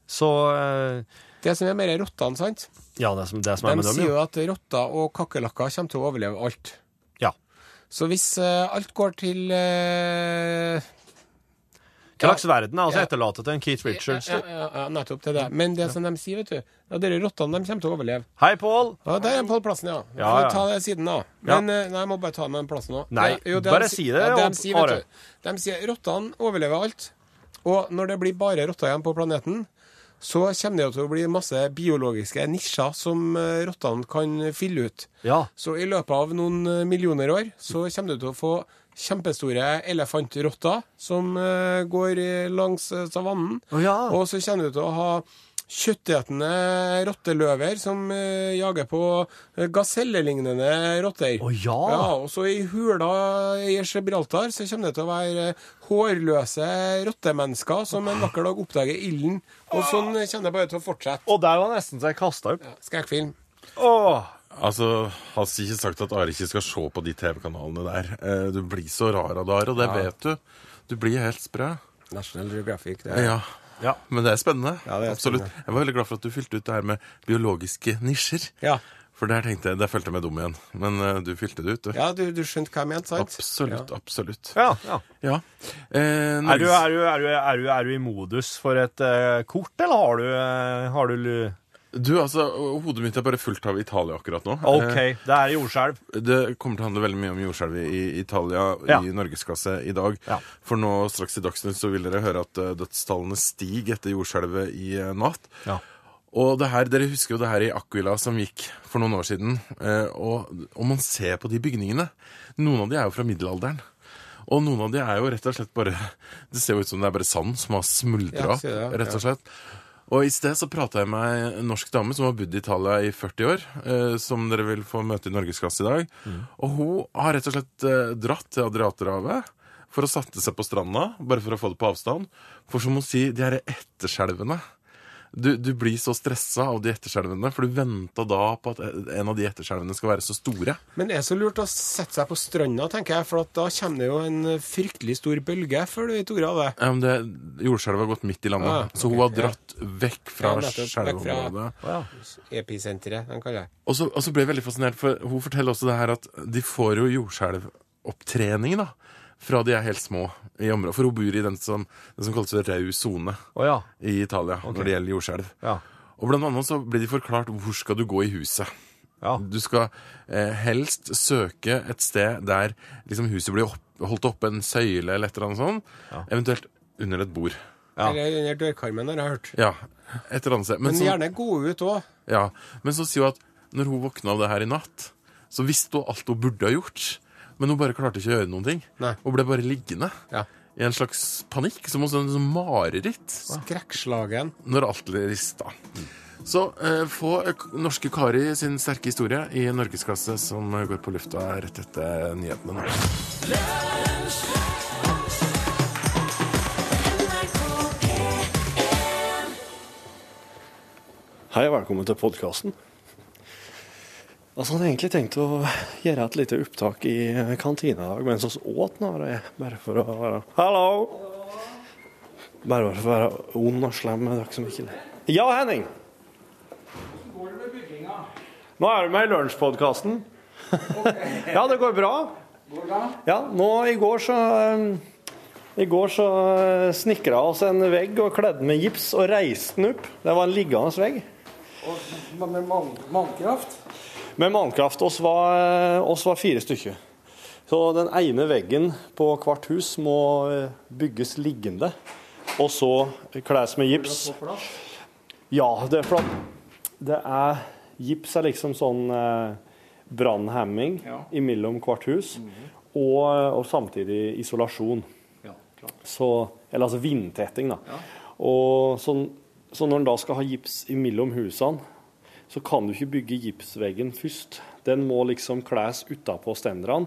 Speaker 2: Så eh,
Speaker 1: Det som er mer rottene, sant?
Speaker 2: Ja, det som, det som er
Speaker 1: De
Speaker 2: med dem,
Speaker 1: sier
Speaker 2: ja.
Speaker 1: jo at rotter og kakerlakker kommer til å overleve alt.
Speaker 2: ja.
Speaker 1: Så hvis eh, alt går til eh,
Speaker 2: Hva slags verden er altså
Speaker 1: Ja.
Speaker 2: etterlatet til en Keith Richards?
Speaker 1: ja,
Speaker 2: du?
Speaker 1: ja, ja, Nettopp til det. Men det som de sier, vet du ja, Dere rottene de kommer til å overleve.
Speaker 2: Hei, Pål!
Speaker 1: Ja, Der er Pål Plassen, ja.
Speaker 2: Ja,
Speaker 1: Får
Speaker 2: ja.
Speaker 1: ta det siden, da.
Speaker 2: Ja.
Speaker 1: Men eh, nei, jeg må bare ta med den plassen òg.
Speaker 2: Nei, bare si det,
Speaker 1: Ja,
Speaker 2: og-
Speaker 1: de, sier,
Speaker 2: Are.
Speaker 1: vet du, de sier rottene overlever alt. Og når det blir bare rotter igjen på planeten, så kommer det jo til å bli masse biologiske nisjer som eh, rottene kan fylle ut.
Speaker 2: Ja.
Speaker 1: Så i løpet av noen eh, millioner år så kommer du til å få kjempestore elefantrotter som eh, går eh, langs eh, savannen.
Speaker 2: Å, ja.
Speaker 1: Og så kommer du til å ha kjøttetende rotteløver som eh, jager på eh, gasellelignende rotter.
Speaker 2: Å, ja.
Speaker 1: ja! Og så i hula i Gibraltar så kommer det til å være eh, hårløse rottemennesker som en vakker dag oppdager ilden. Og sånn eh, kommer det bare til å fortsette.
Speaker 2: Og der var nesten så jeg kasta opp.
Speaker 1: Skrekkfilm.
Speaker 2: Åh.
Speaker 4: Altså, har ikke sagt at Are ikke skal se på de TV-kanalene der. Eh, Du blir så rar av det, Are, og det vet du. Du blir helt sprø. Eh,
Speaker 1: National Geographic. Det er.
Speaker 4: Ja.
Speaker 2: Ja.
Speaker 4: Men det er spennende.
Speaker 1: Ja, det er
Speaker 4: Absolutt. Jeg var veldig glad for at du fylte ut det her med biologiske nisjer.
Speaker 1: Ja.
Speaker 4: For der tenkte jeg, der følte jeg meg dum igjen. Men eh, du fylte det ut, du.
Speaker 1: Ja, du, du skjønte hva jeg mente, sant?
Speaker 4: Absolutt, absolutt.
Speaker 2: Ja, ja.
Speaker 4: Ja. Eh,
Speaker 2: Er du,
Speaker 4: Norges-
Speaker 2: er, du, er, du, er, du, er du i modus for et eh, kort, eller har du, eh, har du lu-
Speaker 4: Du, altså, Hodet mitt er bare fullt av Italia akkurat nå.
Speaker 2: OK,
Speaker 4: Eh,
Speaker 2: det er jordskjelv.
Speaker 4: Det kommer til å handle veldig mye om jordskjelvet i Italia
Speaker 2: Ja.
Speaker 4: i norgesklasse i dag.
Speaker 2: Ja.
Speaker 4: For nå straks i Dagsnytt så vil dere høre at eh, dødstallene stiger etter jordskjelvet i eh, natt.
Speaker 2: Ja.
Speaker 4: Og det her, Dere husker jo det her i Aquila som gikk for noen år siden. Eh, og Om man ser på de bygningene Noen av de er jo fra middelalderen. Og noen av de er jo rett og slett bare Det ser jo ut som det er bare sand som har
Speaker 1: Ja,
Speaker 4: smuldra opp.
Speaker 1: ser det, ja.
Speaker 4: rett og slett. Og i sted så prata jeg med en norsk dame som har bodd i Italia i 40 år, eh, som dere
Speaker 1: Mm.
Speaker 4: vil få møte i Norgesklasse i dag. Og hun har rett og slett eh, dratt til Adriaterhavet for å sette seg på stranda, bare for å få det på avstand. For som hun sier, de her etterskjelvene du, du blir så stressa av de etterskjelvene, for du venta da på at en av de etterskjelvene skal være så store.
Speaker 1: Men det er så lurt å sette seg på stranda, tenker jeg, for at da kommer det jo en fryktelig stor bølge før du vet ordet av det.
Speaker 4: Ja, men det, Jordskjelvet har gått midt i landet,
Speaker 1: Ah,
Speaker 4: så hun
Speaker 1: ok,
Speaker 4: har dratt vekk fra
Speaker 1: Ja, nettopp, vekk fra-
Speaker 4: skjelveområdet.
Speaker 1: Episenteret, den kaller jeg.
Speaker 4: Og så, og så ble jeg veldig fascinert, for hun forteller også det her at de får jo jordskjelvopptrening da, fra de er helt små i området. For hun bor i den som, den som kalles rød sone
Speaker 2: Å ja.
Speaker 4: i Italia når det gjelder jordskjelv.
Speaker 2: Ja.
Speaker 4: Og blant annet så blir de forklart hvor skal du gå i huset.
Speaker 1: Ah.
Speaker 2: Ja.
Speaker 4: Du skal eh, helst søke et sted der liksom, huset blir opp, holdt oppe en søyle eller et eller annet sånt, eventuelt under et bord.
Speaker 2: Ja.
Speaker 1: Eller under dørkarmen, har jeg hørt.
Speaker 4: Ja, et eller annet sted. Men
Speaker 1: Men
Speaker 4: så-
Speaker 1: gjerne gå ut òg.
Speaker 4: Ja, men så sier hun at når hun våkna av det her i natt, så visste hun alt hun burde ha gjort, men hun bare klarte ikke å gjøre noen ting.
Speaker 1: Nei.
Speaker 4: Hun ble bare liggende
Speaker 1: Ja.
Speaker 4: i en slags panikk, som en sånn sånn mareritt,
Speaker 1: Skrekkslagen.
Speaker 4: når alt rista. Så eh, få eh, norske Kari sin sterke historie i norgesklasse som går på lufta rett etter nyhetene nå.
Speaker 5: Hei og velkommen til podkasten. Altså, jeg hadde egentlig tenkt å gjøre et lite opptak i kantina i dag mens vi åt nå, bare- bare for å være Hallo! Bare for å være ond og slem med dere som ikke Ja, Henning! Nå er du med i Lunsjpodkasten. ja, det går bra. Ja, nå i går så um, i går så snikra oss en vegg og kledde med gips og reiste den opp. Det var en liggende vegg. med mannkraft? Med mannkraft. Oss var, oss var fire stykker. Så den ene veggen på hvert hus må eh, bygges liggende. Og så kles med gips. Ja, det er flott. Det er Gips er liksom sånn eh, brannhemming imellom hvert hus. og, og samtidig isolasjon. Så, eller altså vindtetting, da. Og sånn, så når en da skal ha gips imellom husene, så kan du ikke bygge gipsveggen først. Den må liksom kles utapå stenderne.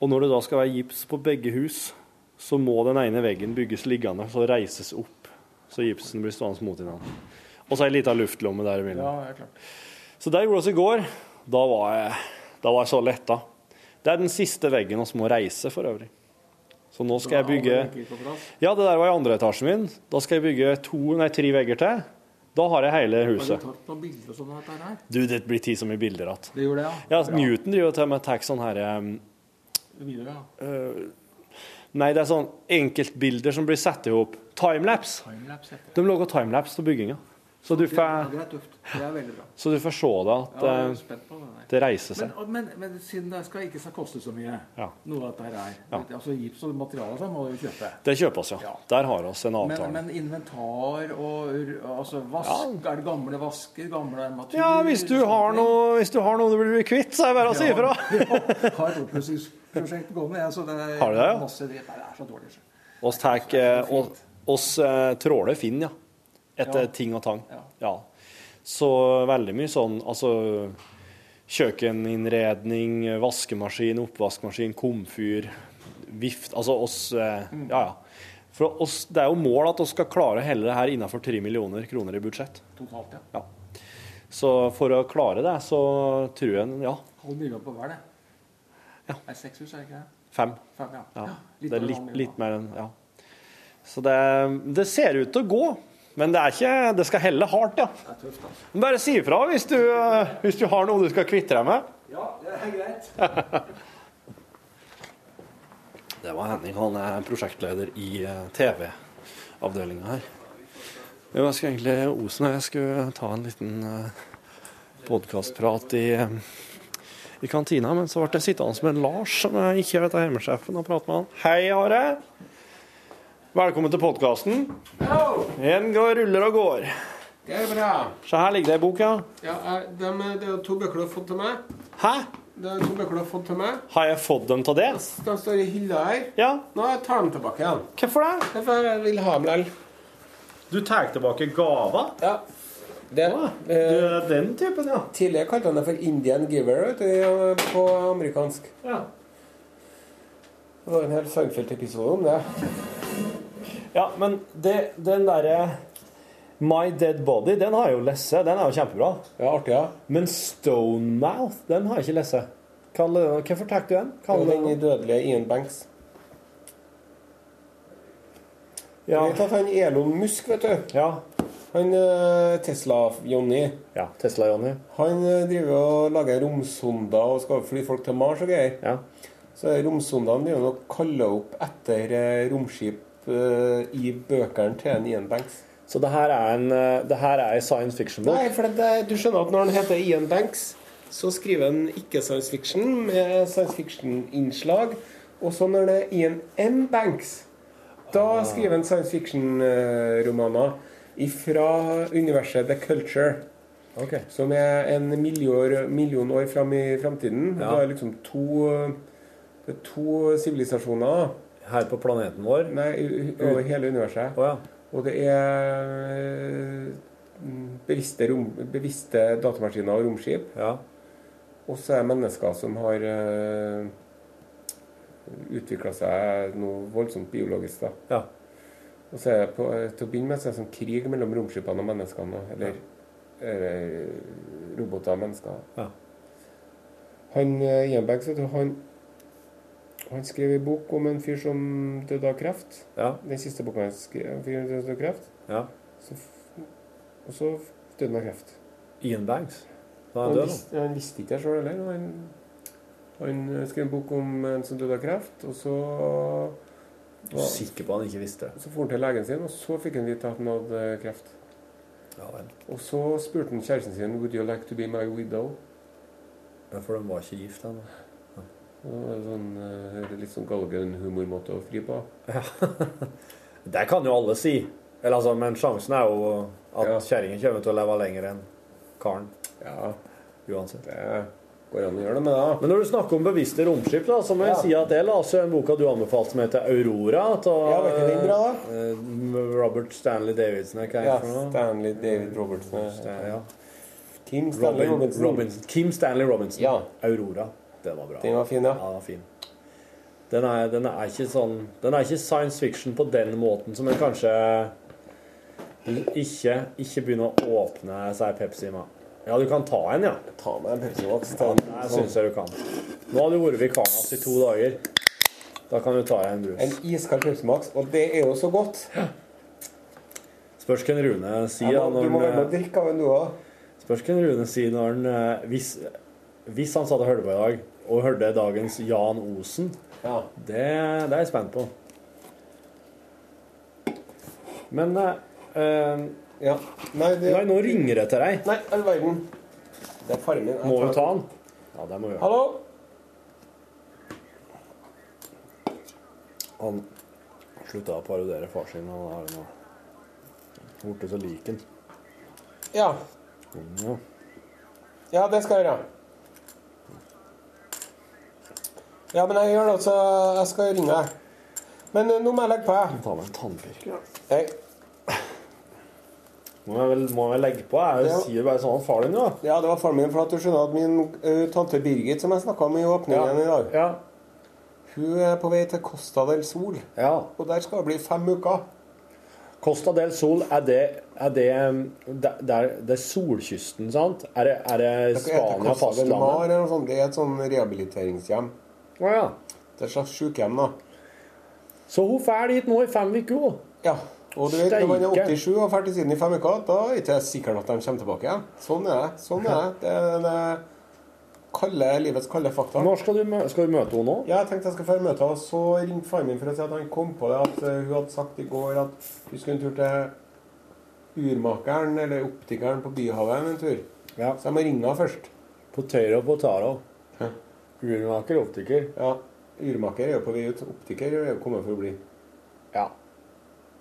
Speaker 5: Og når det da skal være gips på begge hus, så må den ene veggen bygges liggende, så reises opp. Så gipsen blir stående mot hverandre. Og så ei lita luftlomme der imellom. Så det gjorde vi i går. Da var jeg, da var jeg så letta. Det er den siste veggen vi må reise, for øvrig. Så nå skal jeg bygge Ja, det der var i andre etasjen min. Da skal jeg bygge to, nei, tre vegger til. Da har jeg hele huset.
Speaker 6: sånn
Speaker 5: Du, det blir tid så mye bilder igjen.
Speaker 6: Det gjorde det, ja.
Speaker 5: Ja, Newton driver jo til med tar sånn her eh,
Speaker 6: Videre, ja.
Speaker 5: Nei, det er sånn enkeltbilder som blir satt i hop. Timelapse.
Speaker 6: Timelapse heter det.
Speaker 5: De lager timelapse til bygginga. Så du
Speaker 6: Ja,
Speaker 5: får,
Speaker 6: det er tøft. Det er veldig bra.
Speaker 5: så du får se det at
Speaker 6: Ja, jeg er
Speaker 5: eh,
Speaker 6: spent på det der.
Speaker 5: det reiser
Speaker 6: Men,
Speaker 5: seg.
Speaker 6: og- men, men siden det skal ikke skal koste så mye,
Speaker 5: Ja.
Speaker 6: noe av dette her er Altså gips og materialer og sånn må du jo kjøpe.
Speaker 5: Det kjøpes, ja.
Speaker 6: Ja.
Speaker 5: Der har vi en
Speaker 6: Men,
Speaker 5: avtale.
Speaker 6: men inventar og ur- altså vask Er det gamle vasker? Gamle armaturer?
Speaker 5: Ja, hvis du
Speaker 6: sånne
Speaker 5: har
Speaker 6: ting?
Speaker 5: noe, hvis du har noe du vil bli kvitt, så er det bare å si ifra.
Speaker 6: [LAUGHS] Ja, har et oppussingsprosjekt gående, jeg. Så det er
Speaker 5: Har du det, ja?
Speaker 6: masse dritt. Nei, det er så dårlig. så.
Speaker 5: Oss tek, eh, og- oss eh, tråler Finn, ja. Etter
Speaker 6: Ja.
Speaker 5: ting og tang.
Speaker 6: Ja.
Speaker 5: Ja. Så veldig mye sånn, altså kjøkkeninnredning, vaskemaskin, oppvaskmaskin, komfyr, vift, altså oss, eh, ja, ja. For oss, det er jo mål at oss skal klare hele det her innenfor 3 millioner kroner i budsjett.
Speaker 6: Totalt, ja.
Speaker 5: Ja. Så for å klare det, så tror jeg, ja,
Speaker 6: Halv million på hver, det.
Speaker 5: Ja.
Speaker 6: Er det seks hus, er det ikke det?
Speaker 5: fem.
Speaker 6: Fem, ja.
Speaker 5: Ja,
Speaker 6: Ja,
Speaker 5: det er
Speaker 6: over en
Speaker 5: litt,
Speaker 6: halv million,
Speaker 5: litt
Speaker 6: da.
Speaker 5: mer enn Ja. Så det, det ser ut til å gå. Men det, er ikke, det skal helle hardt, ja.
Speaker 6: Det er tøft, altså.
Speaker 5: Men Bare si ifra hvis, du, eh, hvis du har noe du skal kvitte deg med.
Speaker 6: Ja, det er greit.
Speaker 5: Det var Henning. Han er prosjektleder i TV-avdelinga her. Jo, Jeg skulle egentlig, Osen og jeg skulle ta en liten podkastprat i, eh, i kantina, men så ble jeg sittende med Lars, som jeg ikke vet er hjemmesjefen, og prate med han. Hei, Are. Velkommen til podkasten. En går, ruller og går.
Speaker 1: Det er bra.
Speaker 5: Se her ligger det ei bok, ja.
Speaker 1: Ja,
Speaker 6: eh,
Speaker 1: er- dem er- det er to bøker du har fått til meg.
Speaker 5: Hæ?
Speaker 1: Det er to bøker du har fått til meg.
Speaker 5: Har jeg fått dem til det?
Speaker 1: De står i hylla her.
Speaker 5: Ja.
Speaker 1: Nå jeg tar jeg dem tilbake igjen.
Speaker 5: Hvorfor det?
Speaker 1: Det er for jeg vil ha dem likevel.
Speaker 5: Du tar tilbake gava?
Speaker 1: Ja. Det,
Speaker 5: Du
Speaker 1: eh,
Speaker 5: er den typen, ja.
Speaker 1: tidligere kalte han det for Indian Giver vet du, i- på amerikansk.
Speaker 5: ja.
Speaker 1: Det var en hel Seinfeld-episode om det.
Speaker 7: Ja, men det, den derre My Dead Body, den har jeg jo lest. Den er jo kjempebra.
Speaker 1: Ja, artig, ja.
Speaker 7: Men Stonemouth, den har jeg ikke lest. Kall det noe. Hvorfor tar du den? Kall
Speaker 1: Og
Speaker 7: det
Speaker 1: den
Speaker 7: noe.
Speaker 1: dødelige Ian Banks.
Speaker 7: Ja.
Speaker 1: Jeg vet at han Elon Musk, vet du.
Speaker 7: ja.
Speaker 1: Han eh, Tesla-Johnny.
Speaker 7: ja Tesla-Johnny.
Speaker 1: Han eh, driver og lager romsonder og skal fly folk til Mars og greier.
Speaker 7: Ja.
Speaker 1: Så romsondene driver nok kaller opp etter eh, romskip eh, i bøkene til en Ian Banks.
Speaker 7: Så det her er en eh, det her er en science fiction-bok?
Speaker 1: Nei, for det, det, du skjønner at når han heter Ian Banks, så skriver han ikke science fiction med science fiction-innslag. Og så når det er Ian M. Banks,
Speaker 7: Ah.
Speaker 1: da skriver han science fiction-romaner fra universet The Culture.
Speaker 7: Ok.
Speaker 1: Som er en million, million år fram i framtiden.
Speaker 7: Ja.
Speaker 1: Det er liksom to det er to sivilisasjoner
Speaker 7: Her på planeten vår?
Speaker 1: Nei, u- over hele universet.
Speaker 7: Å ja.
Speaker 1: Og det er mm, bevisste, rom, bevisste datamaskiner og romskip.
Speaker 7: ja.
Speaker 1: Og så er det mennesker som har uh, utvikla seg noe voldsomt biologisk. da.
Speaker 7: Ja.
Speaker 1: Og så er det på, til å begynne med så er det sånn krig mellom romskipene og menneskene. Eller, eller roboter og mennesker.
Speaker 7: Ja.
Speaker 1: Han eh, Ian Baggs, vet du, han, han skrev en bok om en fyr som døde av kreft.
Speaker 7: Ja.
Speaker 1: Den siste boka han skrev, en fyr som døde av kreft.
Speaker 7: ja.
Speaker 1: Så, f- og så f- døde han av kreft.
Speaker 7: Ian Banks. Da er
Speaker 1: Han
Speaker 7: han død,
Speaker 1: visste, han visste ikke det sjøl heller. og Han, han eh, skrev en bok om en som døde av kreft, og så
Speaker 7: da. Er du Sikker på han ikke visste det.
Speaker 1: så for han til legen sin, og så fikk han vite at han hadde eh, kreft.
Speaker 7: Ja vel.
Speaker 1: Og så spurte han kjæresten sin Would you like to be my widow?
Speaker 7: Ja, For de var ikke gift ennå.
Speaker 1: Og det er sånn, eh, litt sånn galgenhumormåte å fri på.
Speaker 7: Det kan jo alle si. Eller altså, Men sjansen er jo at
Speaker 1: Ja.
Speaker 7: kjerringen kommer til å leve lenger enn karen.
Speaker 1: Ja,
Speaker 7: Uansett.
Speaker 1: det går an å gjøre det med det. da.
Speaker 7: Men når du snakker om bevisste romskip, da, så må jeg
Speaker 1: Ja.
Speaker 7: si at jeg leste jo en boka du anbefalte som heter 'Aurora' av
Speaker 1: Ja, var ikke den bra, da?
Speaker 7: eh, eh, Robert Stanley Davidson. Er hva er
Speaker 1: Ja,
Speaker 7: det for noe?
Speaker 1: Stanley David eh, Robertson.
Speaker 7: Stan- ja.
Speaker 1: Kim Stanley
Speaker 7: Robin,
Speaker 1: Robinson.
Speaker 7: Robinson. Kim Stanley Robinson.
Speaker 1: Ja.
Speaker 7: 'Aurora'. Den var bra.
Speaker 1: Den var fin,
Speaker 7: Ja,
Speaker 1: ja.
Speaker 7: den var fin. Den er, den er ikke sånn Den er ikke science fiction på den måten som en kanskje eh, ikke, ikke begynner å åpne seg Pepsi med. Ja, du kan ta en, ja.
Speaker 1: Ta med en Pepsi Max. ta en- sånn.
Speaker 7: Det syns jeg du kan. Nå har du vært vikaren hans i to dager. Da kan du ta deg en
Speaker 1: En
Speaker 7: brus.
Speaker 1: iskald Pepsi Max, og det er jo så godt.
Speaker 7: Spørs hva en Rune sier
Speaker 1: Ja,
Speaker 7: da
Speaker 1: du
Speaker 7: når
Speaker 1: må være med
Speaker 7: han
Speaker 1: og drikke av en du òg.
Speaker 7: Spørs hva en Rune sier når han eh, Hvis, hvis han satt og hørte på i dag, og hørte dagens Jan Osen
Speaker 1: Ja.
Speaker 7: Det, det er jeg spent på. Men eh, eh,
Speaker 1: ja. Nei, det
Speaker 7: Nei, nå ringer det til deg.
Speaker 1: Nei, all verden. Det er faren min. Jeg
Speaker 7: Må
Speaker 1: tar-
Speaker 7: vi ta den? Ja, det må vi gjøre.
Speaker 1: Hallo?
Speaker 7: Han slutta å parodiere far sin. Han har nå blitt så lik han.
Speaker 1: Ja.
Speaker 7: Ja.
Speaker 1: Ja, det skal jeg gjøre. Ja, men jeg gjør det, så jeg skal ringe deg. Men eh, nå må jeg legge på, jeg.
Speaker 7: Ta meg en tannpirker.
Speaker 1: Hei.
Speaker 7: Må jeg vel må jeg legge på? Jeg
Speaker 1: Ja.
Speaker 7: sier bare sånn om far din, da.
Speaker 1: Ja, det var faren min, for at du skjønner at min eh, tante Birgit, som jeg snakka om i åpningen i dag,
Speaker 7: Ja.
Speaker 1: hun er på vei til Costa del Sol.
Speaker 7: ja.
Speaker 1: Og der skal det bli fem uker.
Speaker 7: Costa del Sol, er det er det, det, det, er, det er solkysten, sant? Er det, er det
Speaker 1: Det heter
Speaker 7: Spania,
Speaker 1: Costa del Mar
Speaker 7: fastlandet?
Speaker 1: eller noe sånt. Det er et sånn rehabiliteringshjem.
Speaker 7: Å ja.
Speaker 1: Det er et slags sykehjem, da.
Speaker 7: Så hun drar dit nå i fem uker. hun.
Speaker 1: Ja. Og du vet, når man er
Speaker 7: Steike.
Speaker 1: 87 og ferdig siden i fem uker, da er det ikke sikkert at de kommer tilbake igjen.
Speaker 6: [LAUGHS]
Speaker 1: Sånn er det. Sånn er det. Det er det kalde, livets kalde fakta.
Speaker 7: Når skal du, mø skal du møte henne nå?
Speaker 1: Ja, jeg tenkte jeg skulle få møte henne, og så ringte faren min for å si at han kom på det at eh, hun hadde sagt i går at hun skulle en tur til urmakeren eller optikeren på Byhavet en tur.
Speaker 7: Ja.
Speaker 1: Så jeg må ringe henne først.
Speaker 7: Potato, potato.
Speaker 1: Hæ?
Speaker 7: Urmaker, optiker.
Speaker 1: Ja, urmaker er jo på vei ut. Optiker er jo kommet for å bli.
Speaker 7: Ja.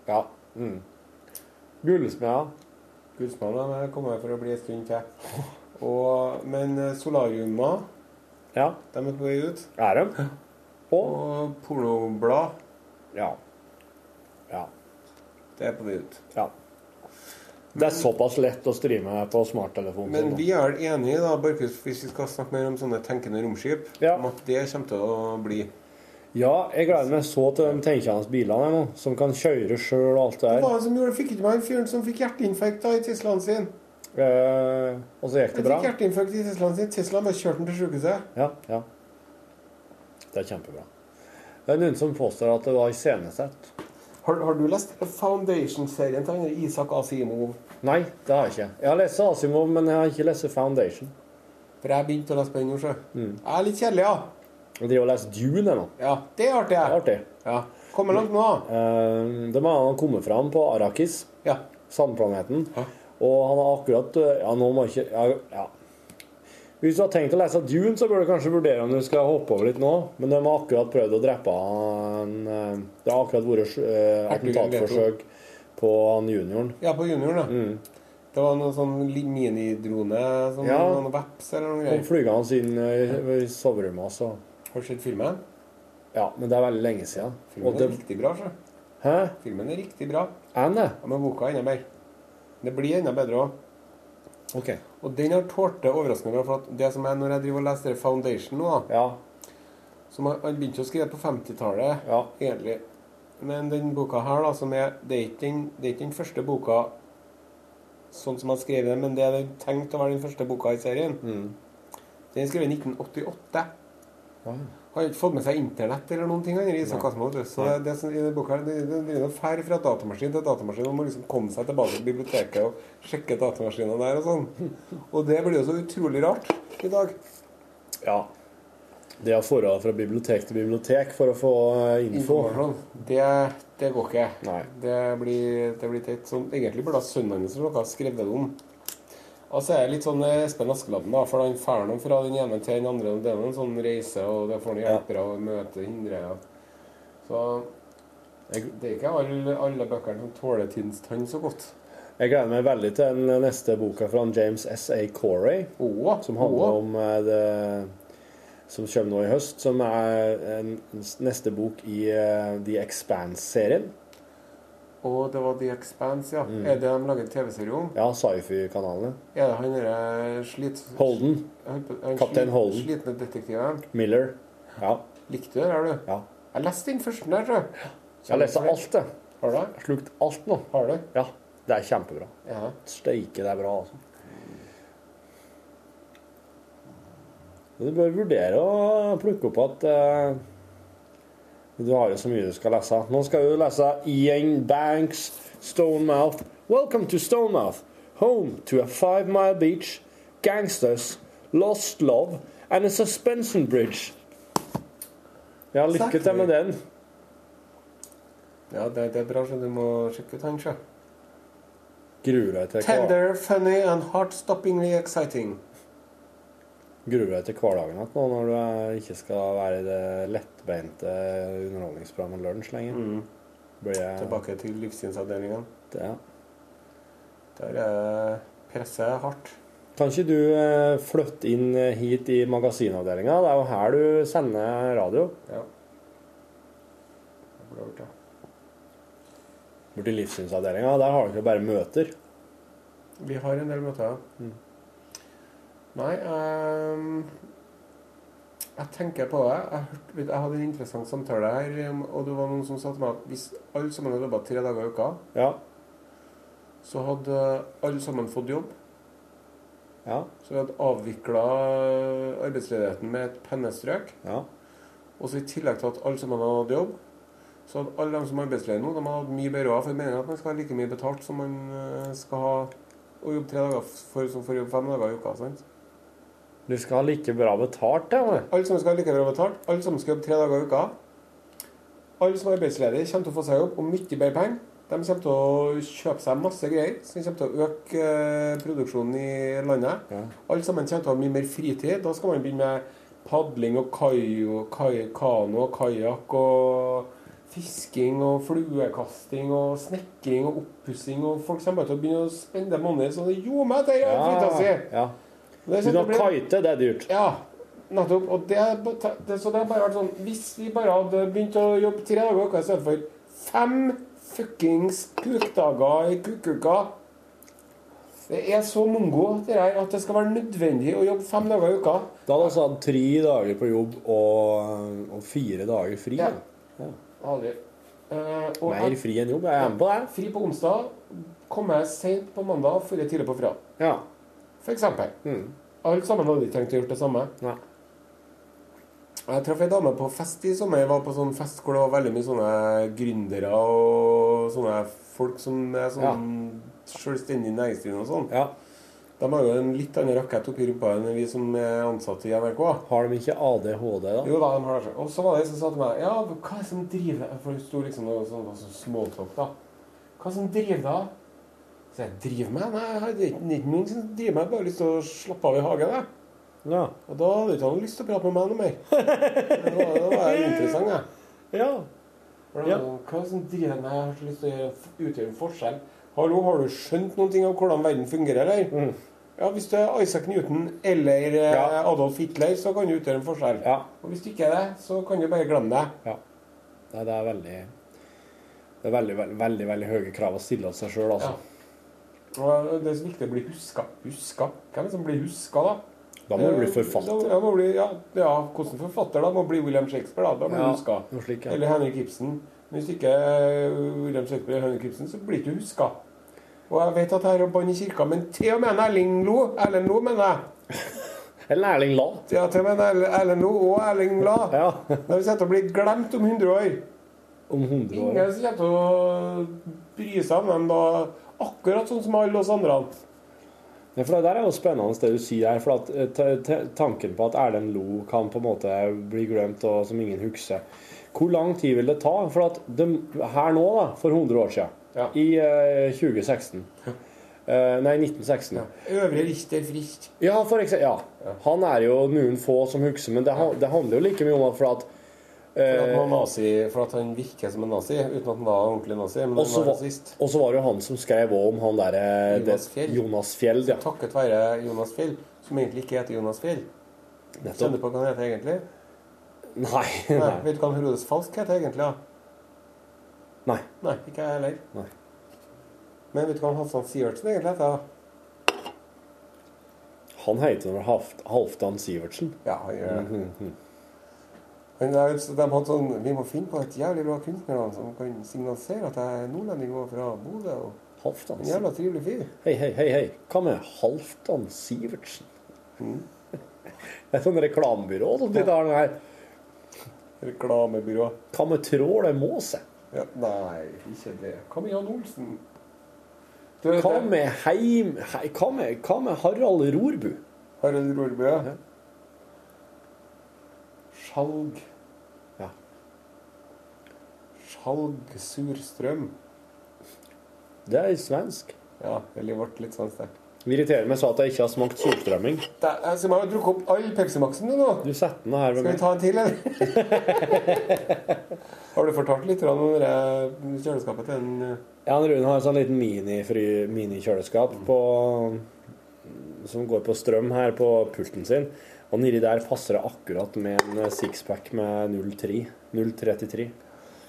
Speaker 7: Ja. Mm. Gullsmeda.
Speaker 1: Gullsmannen er kommet for å bli en stund [LAUGHS] til. Og, men eh, solariuma,
Speaker 7: Ja.
Speaker 1: de er på vei ut.
Speaker 7: Er de? Og
Speaker 1: Og pornoblad,
Speaker 7: Ja. Ja.
Speaker 1: det er på vei ut.
Speaker 7: ja. Det er såpass lett å streame på smarttelefonen.
Speaker 1: Men
Speaker 7: som-
Speaker 1: vi er vel enige, da, Borchhus, hvis vi skal snakke mer om sånne tenkende romskip,
Speaker 7: Ja.
Speaker 1: om at det kommer til å bli
Speaker 7: Ja, jeg gleder meg så til de tenkende bilene her nå, som kan kjøre sjøl og alt det der.
Speaker 1: det som gjorde Fikk ikke meg en fyren som fikk hjerteinfarkt da i Teslaen sin?
Speaker 7: Eh, og så gikk det bra.
Speaker 1: hjerteinfarkt i Teslaen sin. Tesla bare kjørte den til sjukehuset.
Speaker 7: Ja, ja. Det er kjempebra. Det er noen som påstår at det var iscenesatt.
Speaker 1: Har, har du lest Foundation-serien til han Isak Asimov?
Speaker 7: Nei, det har jeg ikke. Jeg har lest Asimov, men jeg har ikke lest Foundation.
Speaker 1: For jeg begynte å lese på den nå, sjø. Jeg er litt kjedelig, ja.
Speaker 7: Og de har lest Dune ennå.
Speaker 1: ja. Det er artig.
Speaker 7: Det er
Speaker 1: jeg.
Speaker 7: artig.
Speaker 1: Ja. Kommer langt nå. da.
Speaker 7: Eh, de har kommet fram på Arrakis,
Speaker 1: Ja.
Speaker 7: sandplaneten,
Speaker 1: Ja.
Speaker 7: og han har akkurat eh, Ja, nå må jeg ikke ja, ja. Hvis du har tenkt å lese Dune, så bør du kanskje vurdere om du skal hoppe over litt nå. Men de har akkurat prøvd å drepe han eh, Det har akkurat vært eh,
Speaker 1: Arthur Leto.
Speaker 7: attentatforsøk på han junioren.
Speaker 1: ja, på junioren, da. Det var noe sånn li- minidrone som
Speaker 7: Ja.
Speaker 1: var noe veps eller noe
Speaker 7: Han
Speaker 1: greier.
Speaker 7: fløy hans inn eh, i soverommet, altså.
Speaker 1: Har du sett filmen?
Speaker 7: Ja, men det er veldig lenge siden.
Speaker 1: Filmen
Speaker 7: Og det,
Speaker 1: er riktig bra, sjø.
Speaker 7: hæ?
Speaker 1: Filmen er riktig bra.
Speaker 7: Er han det?
Speaker 1: Ja, men boka er enda bedre. Det blir enda bedre òg.
Speaker 7: OK.
Speaker 1: Og den har tålt det overraskende bra. For at det som er når jeg driver og leser det Foundation nå, da,
Speaker 7: Ja.
Speaker 1: som han- han begynte å skrive på 50-tallet
Speaker 7: Ja.
Speaker 1: egentlig Men den boka her, da, som er Det er ikke den, det er ikke den første boka sånn som han skrev den, men det er den tenkt å være den første boka i serien. Den er skrevet i 1988. Har jo ikke fått med seg internett eller noen ting. Han, Isak Asimov, vet du. så det, det som i den boka her, det- det driver og fær fra datamaskin til datamaskin. Man må liksom komme seg tilbake til biblioteket og sjekke datamaskinene der og sånn. Og det blir jo så utrolig rart i dag.
Speaker 7: ja. Det å dra fra bibliotek til bibliotek for å få eh, info.
Speaker 1: Informasjon. Det, det går ikke.
Speaker 7: Nei.
Speaker 1: Det blir, det blir teit. Som egentlig burde ha sønnen hans eller noe skrevet det om. Og så er jeg litt sånn eh, Espen Askeladden, da. For han drar nå fra den ene til den andre. og Det er jo en sånn reise, og det får han hjelpere og møte hindre. ja. Så det er ikke alle, alle bøkene som tåler tidens tann så godt.
Speaker 7: Jeg gleder meg veldig til den neste boka fra han James S.A. Corey,
Speaker 1: Åh,
Speaker 7: som handler
Speaker 1: åh.
Speaker 7: om eh, det som kommer nå i høst, som er en, neste bok i eh, The Expanse-serien.
Speaker 1: Og det var The Expanse, ja.
Speaker 7: Mm.
Speaker 1: Er det de lager TV-serie om?
Speaker 7: Ja, sci-fi-kanalene.
Speaker 1: Er det han derre slit...
Speaker 7: Holden.
Speaker 1: han- han
Speaker 7: Kaptein
Speaker 1: slit-
Speaker 7: Holden.
Speaker 1: Slitne detektiven.
Speaker 7: Miller. Ja.
Speaker 1: Likte du det, har du?
Speaker 7: ja.
Speaker 1: Jeg leste den første der, tror jeg.
Speaker 7: Jeg har lest alt, jeg.
Speaker 1: Har du? det?
Speaker 7: Jeg har Slukt alt nå.
Speaker 1: Har du? det?
Speaker 7: Ja. Det er kjempebra.
Speaker 1: Ja.
Speaker 7: Steike, det er bra, altså. Du bør vurdere å plukke opp at eh, du har jo så mye du skal lese. Nå skal du lese Ian Banks, Stonemouth. Welcome to Stonemouth. Home to a five mile beach, gangsters, lost love and a suspension bridge. Ja, lykke til med den.
Speaker 1: ja det, det er bra, så du må sjekke ut han, sjø.
Speaker 7: Gruer deg til hver-
Speaker 1: Tender, funny and heart-stoppingly exciting.
Speaker 7: gruer deg til hverdagen igjen nå når du eh, ikke skal være i det lettbeinte underholdningsprogrammet Lunsj lenger.
Speaker 1: Mm.
Speaker 7: Blir jeg
Speaker 1: Tilbake til livssynsavdelingen.
Speaker 7: Ja.
Speaker 1: Der er presset hardt.
Speaker 7: Kan ikke du eh, flytte inn eh, hit i magasinavdelinga? Det er jo her du sender radio.
Speaker 1: Ja. Det burde vært det.
Speaker 7: Borti livssynsavdelinga, der har du ikke bare møter.
Speaker 1: Vi har en del møter. ja.
Speaker 7: Mm.
Speaker 1: Nei ehm, Jeg tenker på det. Jeg, hørte, vet du, jeg hadde en interessant samtale her, em, og det var noen som sa til meg at hvis alle sammen hadde jobba tre dager i uka,
Speaker 7: Ja.
Speaker 1: så hadde alle sammen fått jobb.
Speaker 7: Ja.
Speaker 1: Så vi hadde avvikla arbeidsledigheten med et pennestrøk.
Speaker 7: Ja.
Speaker 1: Og så i tillegg til at alle sammen hadde hatt jobb, så hadde alle de som er arbeidsledige nå, de hadde hatt mye bedre råd. For jeg mener at man skal ha like mye betalt som man eh, skal ha å jobbe tre dager for som for å jobbe fem dager i uka. sant?
Speaker 7: Du skal ha like bra betalt, det. vel?
Speaker 1: Alle som skal ha like bra betalt, alle som skal jobbe tre dager i uka. Alle som er arbeidsledige, kommer til å få seg jobb og mye bedre penger. De kommer til å kjøpe seg masse greier som kommer til å øke eh, produksjonen i landet.
Speaker 7: Ja.
Speaker 1: Alle sammen kommer til å ha mye mer fritid. Da skal man begynne med padling og kai og kai, kano og kajakk og fisking og fluekasting og snekring og oppussing. Og folk kommer bare til å begynne å spende måneder. Så det gjorde meg til å gjøre fritida si!
Speaker 7: ja.
Speaker 1: Det
Speaker 7: Du
Speaker 1: kommer til å
Speaker 7: kan
Speaker 1: bli-
Speaker 7: kite, det er dyrt.
Speaker 1: ja, nettopp. Og det, er ba- ta- det, så det har bare vært sånn Hvis vi bare hadde begynt å jobbe tre dager i uka istedenfor fem fuckings kukdager i kukuka Det er så mongo det her, at det skal være nødvendig å jobbe fem dager i uka.
Speaker 7: Da hadde han altså hatt tre dager på jobb og, og fire dager fri.
Speaker 1: Ja. Aldri. Eh, og
Speaker 7: Mer
Speaker 1: jeg,
Speaker 7: fri enn jobb. Jeg er med på det.
Speaker 1: fri på onsdag, kommer jeg sent på mandag, drar tidlig på fredag.
Speaker 7: Ja. Mm.
Speaker 1: For eksempel. Alle sammen hadde ikke tenkt å gjøre det samme.
Speaker 7: Nei.
Speaker 1: Jeg traff ei dame på fest i sommer. Jeg var på sånn fest hvor det var veldig mye sånne gründere og sånne folk som er sånn selvstendig næringsdrivende og sånn.
Speaker 7: ja.
Speaker 1: De har jo en litt annen rakett oppi rumpa enn vi som er ansatte i NRK.
Speaker 7: Har de ikke ADHD, da?
Speaker 1: Jo da, de har det. Og så var det en som sa til meg Ja, men hva er det som driver deg For det sto liksom noe sånn, var sånn smalltalk, da. Hva er det som driver deg? Så jeg driver meg? Nei, jeg har- det er ikke det er ikke noen som driver meg. Jeg har bare lyst til å slappe av i hagen, jeg.
Speaker 7: Ja.
Speaker 1: Og da hadde ikke han lyst til å prate med meg noe
Speaker 7: [LAUGHS]
Speaker 1: mer. Da var, da var jeg interessant, jeg.
Speaker 7: ja.
Speaker 1: For det var sånn, Hva er det som driver deg? Jeg har så lyst til å gjøre, utgjøre en forskjell. Hallo, har du skjønt noen ting av hvordan verden fungerer, eller? Ja, hvis du er Isaac Newton eller eh,
Speaker 7: Mm. Ja.
Speaker 1: Adolf Hitler, så kan du utgjøre en forskjell.
Speaker 7: Ja.
Speaker 1: Og hvis du ikke er det, så kan du bare glemme det.
Speaker 7: Nei, det er veldig Det er veldig, veldig, veldig, veldig høye krav å stille til seg sjøl, altså.
Speaker 1: Og det er så viktig å bli huska. Huska? Hvem er det som blir huska, da?
Speaker 7: Da må du bli forfatter.
Speaker 1: Da, ja, må bli, ja, ja, hvordan forfatter da? Må bli William Shakespeare, da. Da blir du
Speaker 7: Ja,
Speaker 1: huska.
Speaker 7: noe slik, ja.
Speaker 1: Eller Henrik Ibsen. Men hvis ikke eh, William Shakespeare eller Henrik Ibsen, så blir du ikke huska. Og jeg vet at her er bånd i kirka, men til og med en Erling Lo, Erlend Lo, mener jeg.
Speaker 7: Eller Erling La.
Speaker 1: Ja, til og med en Erl- Erlend Lo og Erling La.
Speaker 7: Ja.
Speaker 1: [LAUGHS] Når vi sitter og blir glemt om 100 år.
Speaker 7: Om 100 år.
Speaker 1: Ingen som kommer til å bry seg om dem da. Akkurat sånn som alle oss andre.
Speaker 7: Ja, for Det der er jo spennende det du sier her. for at eh, ta- ta- Tanken på at Erlend Lo kan på en måte bli glemt og som ingen husker. Hvor lang tid vil det ta? For at de, her nå, da, for 100 år siden,
Speaker 1: Ja.
Speaker 7: i eh, 2016 eh, Nei, 1916.
Speaker 1: Øvre Richter Frist.
Speaker 7: Ja, for eksempel, ja. Han er jo noen få som husker, men det, han- det handler jo like mye om at, for at Eh,
Speaker 1: For at, han var nazi, for at han virker som en nazi, uten at han var ordentlig nazi. Men
Speaker 7: Og
Speaker 1: han
Speaker 7: så
Speaker 1: var
Speaker 7: var,
Speaker 1: rasist.
Speaker 7: og så var det jo han som skrev også om han derre
Speaker 1: Jonas Fjeld.
Speaker 7: Jonas Fjeld, ja.
Speaker 1: Takket være Jonas Fjell, som egentlig ikke heter Jonas Fjell.
Speaker 7: Nettopp.
Speaker 1: Kjenner du på hva han heter egentlig?
Speaker 7: Nei. [LAUGHS]
Speaker 1: Nei.
Speaker 7: Nei.
Speaker 1: Vet du hva han Herodes Falsk heter egentlig? da?
Speaker 7: Nei.
Speaker 1: Nei, ikke jeg heller.
Speaker 7: Nei.
Speaker 1: Men vet du hva han Halvdan Sivertsen egentlig heter? da?
Speaker 7: Han heter vel Half- Halfdan Sivertsen.
Speaker 1: Ja, han gjør
Speaker 7: Mhm,
Speaker 1: det. Men det er jo så- de hadde sånn, Vi må finne på et jævlig bra kunstnernavn som kan signalisere at jeg er nordlending og fra Bodø. og
Speaker 7: Halfdan
Speaker 1: En
Speaker 7: Sivertsen.
Speaker 1: jævla trivelig fyr.
Speaker 7: Hei, hei, hei, hei. Hva med Halfdan Sivertsen? [LAUGHS] Det er sånn reklamebyrå som de tar den her.
Speaker 1: Reklamebyrå.
Speaker 7: Hva med Trål og Måse?
Speaker 1: Ja, nei, ikke det. Hva med Jan Olsen? Du,
Speaker 7: Hva
Speaker 1: det-
Speaker 7: med Heim... Hei, hva, med, hva med Harald Rorbu?
Speaker 1: Harald Rorbø. Skjalg.
Speaker 7: Ja.
Speaker 1: Skjalg Surstrøm.
Speaker 7: Det er svensk.
Speaker 1: Ja, eller ble litt sånn sterkt.
Speaker 7: Det irriterer meg så at jeg ikke har smakt surstrømming.
Speaker 1: Det er- Jeg skal bare drukke opp all Pepsi Max-en du, nå.
Speaker 7: Du setter den her ved
Speaker 1: Skal vi
Speaker 7: meg.
Speaker 1: ta en til, [LAUGHS] eller? Har du fortalt litt grann om det der kjøleskapet til den eh,
Speaker 7: Ja, han Rune har en sånn liten minifry- minikjøleskap på som går på strøm her på pulten sin. Og nedi der passer det akkurat med en eh, sixpack med 03. 033.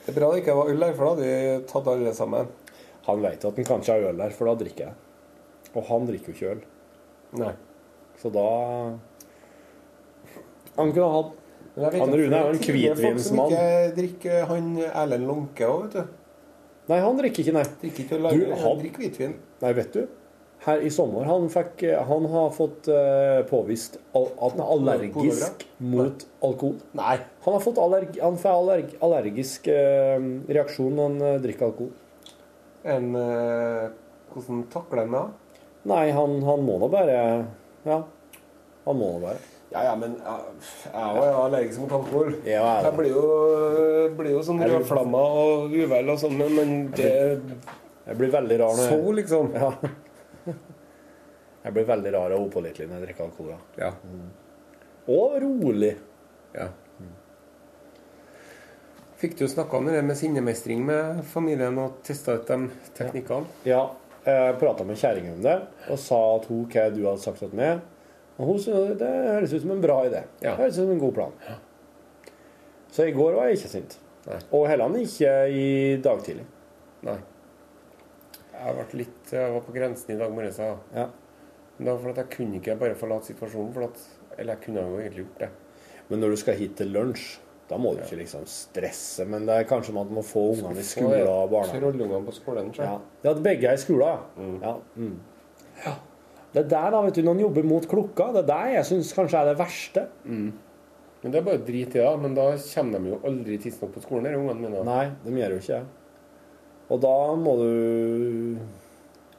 Speaker 1: Det er bra det ikke var øl der, for da hadde vi tatt alle sammen.
Speaker 7: Han vet at han kanskje har øl der, for da drikker jeg. Og han drikker jo ikke øl.
Speaker 1: Nei.
Speaker 7: Så da Han kunne hatt
Speaker 1: Men jeg vet
Speaker 7: Han
Speaker 1: at
Speaker 7: Rune er jo en
Speaker 1: det tidligere folk
Speaker 7: hvitvinsmann.
Speaker 1: som ikke drikker han Erlend Lånke òg, vet du.
Speaker 7: Nei, han drikker ikke, nei.
Speaker 1: Drikker ikke
Speaker 7: Du,
Speaker 1: lager,
Speaker 7: han-
Speaker 1: han drikker hvitvin.
Speaker 7: Nei, vet du. Her i sommer han fikk, Han har fått eh, påvist al at han er allergisk mot alkohol.
Speaker 1: Nei.
Speaker 7: Han har fått allerg han får allerg allergisk eh, reaksjon når han eh, drikker alkohol.
Speaker 1: En, eh, hvordan takler han det?
Speaker 7: Nei, han, han må da bare Ja. Han må da bare.
Speaker 1: Ja, ja, men jeg jeg er jo allergisk mot alkohol.
Speaker 7: Ja, jeg er det.
Speaker 1: jeg blir jo, blir jo sånn rødflamma og uvel og sånn, men- men det
Speaker 7: Jeg blir veldig rar når
Speaker 1: Så,
Speaker 7: jeg,
Speaker 1: liksom.
Speaker 7: ja. [LAUGHS] jeg blir veldig rar og opålitelig når jeg drikker alkohol. Ja. Mm.
Speaker 1: Ja.
Speaker 7: Og rolig.
Speaker 1: ja. Fikk du snakka om det med sinnemestring med familien og testa ut de teknikkene?
Speaker 7: Ja. Jeg prata med kjerringa om det og sa at hun hva du hadde sagt til meg. Og hun syntes det høres ut som en bra idé.
Speaker 1: Ja.
Speaker 7: Det høres ut som en god plan. Så i går var jeg ikke sint.
Speaker 1: Nei.
Speaker 7: Og heller ikke i dag tidlig.
Speaker 1: Nei. Jeg ble litt Jeg var på grensen i dag morges, jeg.
Speaker 7: Ja.
Speaker 1: Men det var for at jeg kunne ikke bare forlate situasjonen. For at, eller jeg kunne jo egentlig gjort det.
Speaker 7: Men når du skal hit til lunsj, da må du ikke liksom stresse. Men det er kanskje man må få ungene i skolen og barnehagen.
Speaker 1: Trollungene på skolen. tror jeg.
Speaker 7: Ja. ja, at begge er i skolen, ja. ja. Mm. Det der, da, vet du, når en jobber mot klokka, det der jeg syns kanskje er det verste.
Speaker 1: Men det er bare drit i det. da. Men da kommer de jo aldri tidsnok på skolen, disse ungene mine.
Speaker 7: Nei, de gjør jo ikke det. Og da må du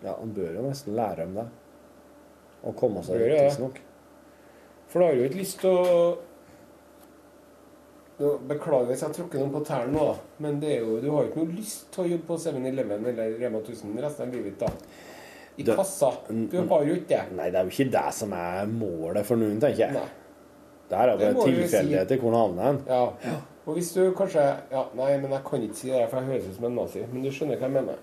Speaker 7: Ja, han bør jo nesten lære om det. Og komme seg
Speaker 1: Bør
Speaker 7: dit
Speaker 1: jo det.
Speaker 7: tidsnok.
Speaker 1: For da har jeg jo ikke lyst til å Nå, Beklager hvis jeg har tråkket noen på tærne nå, da. men det er jo, du har jo ikke noe lyst til å jobbe på 7-Eleven eller Rema 1000 resten av livet ditt, da. I
Speaker 7: Det-
Speaker 1: kassa. Du har jo ikke det.
Speaker 7: Nei, det er jo ikke det som er målet for noen, tenker jeg.
Speaker 1: Nei.
Speaker 7: Det her er
Speaker 1: Det
Speaker 7: bare
Speaker 1: må vi jo si.
Speaker 7: tilfeldigheter hvor han havner hen.
Speaker 1: Ja. Og hvis du kanskje ja, Nei, men jeg kan ikke si det, for jeg høres ut som en nazi. Men du skjønner hva jeg mener.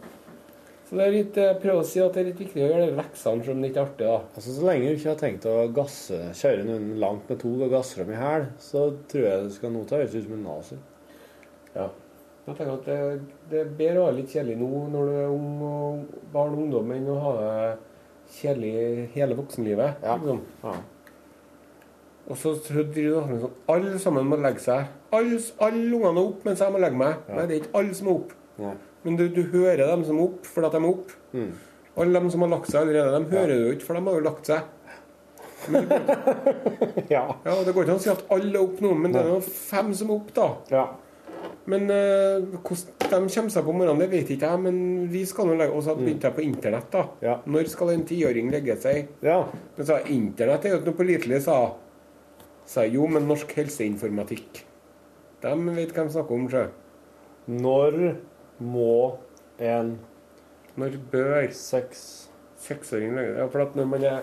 Speaker 1: Så det er litt, eh, prøv å si at det er litt viktig å gjøre de leksene, selv om det ikke er artig, da.
Speaker 7: Altså, Så lenge du ikke har tenkt å gasse, kjøre noen langt med tog og gasse dem i hæl, så tror jeg det skal nå ta høres ut som en nazi.
Speaker 1: Jeg tenker at det, det er bedre å ha det litt kjedelig nå når du er ung og barn og ungdom, enn å ha det kjedelig hele voksenlivet. Liksom. Og så driver du med sånn Alle sammen må legge seg. Alle, alle ungene er opp mens jeg må legge meg. Nei, det er ikke alle som er opp.
Speaker 7: Nei. [LAUGHS]
Speaker 1: Men du, du hører dem som er opp fordi at de er opp. Alle dem som har lagt seg allerede, dem hører du jo ikke, for de har jo lagt seg.
Speaker 7: Ja.
Speaker 1: Ja, og Det går ikke an å si at alle er opp nå, men det er jo fem som er opp, da.
Speaker 7: ja.
Speaker 1: Men eh, hvordan de kommer seg på morgenen, det vet ikke jeg. Men vi skal nå legge Og så begynte jeg på internett, da.
Speaker 7: Ja.
Speaker 1: Når skal en tiåring legge seg?
Speaker 7: Ja.
Speaker 1: Men sa jeg, internett er jo ikke noe pålitelig, sa jeg. Sa jeg, jo, men norsk helseinformatikk. De vet hva de snakker om, sjø.
Speaker 7: Når må en
Speaker 1: Når bør
Speaker 7: seks
Speaker 1: seksåring legge seg? Ja, for at når man er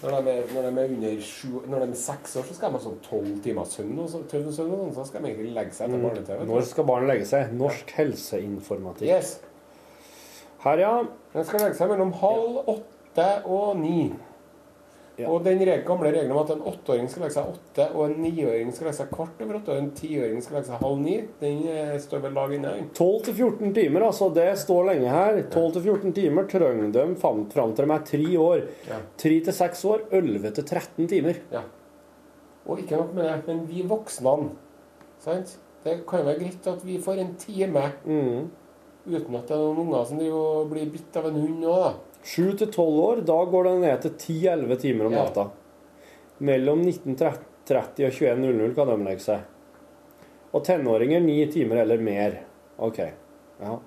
Speaker 1: når de, er, når de er under sju, når de er seks år, så skal de ha sånn tolv timer søvn. og så- tolv søvn og sånn, Så skal de egentlig legge seg etter barne-TV.
Speaker 7: Mm. Når skal barn legge seg? Norsk helseinformatikk.
Speaker 1: Yes.
Speaker 7: Her, ja.
Speaker 1: Den skal legge seg mellom halv åtte og ni.
Speaker 7: Ja.
Speaker 1: Og den reg- gamle regelen om at en åtteåring skal legge seg åtte, og en niåring skal legge seg kvart over åtte, og en tiåring skal legge seg halv ni, den eh, står ved lag inne.
Speaker 7: 12 til 14 timer, altså. Det står lenge her. 12 til 14 timer trenger de fram fram til de er tre år.
Speaker 1: Ja.
Speaker 7: Tre til seks år, 11 til 13 timer.
Speaker 1: Ja. Og ikke nok med det, men vi voksne, sant? Det kan jo være greit at vi får en time
Speaker 7: Mm.
Speaker 1: uten at det er noen unger som driver og blir bitt av en hund òg, da.
Speaker 7: Sju til tolv år, da går det ned til 10-11 timer om
Speaker 1: Ja.
Speaker 7: natta. Mellom 1930 og 21.00 kan de legge seg. Og tenåringer 9 timer eller mer. OK. Ja.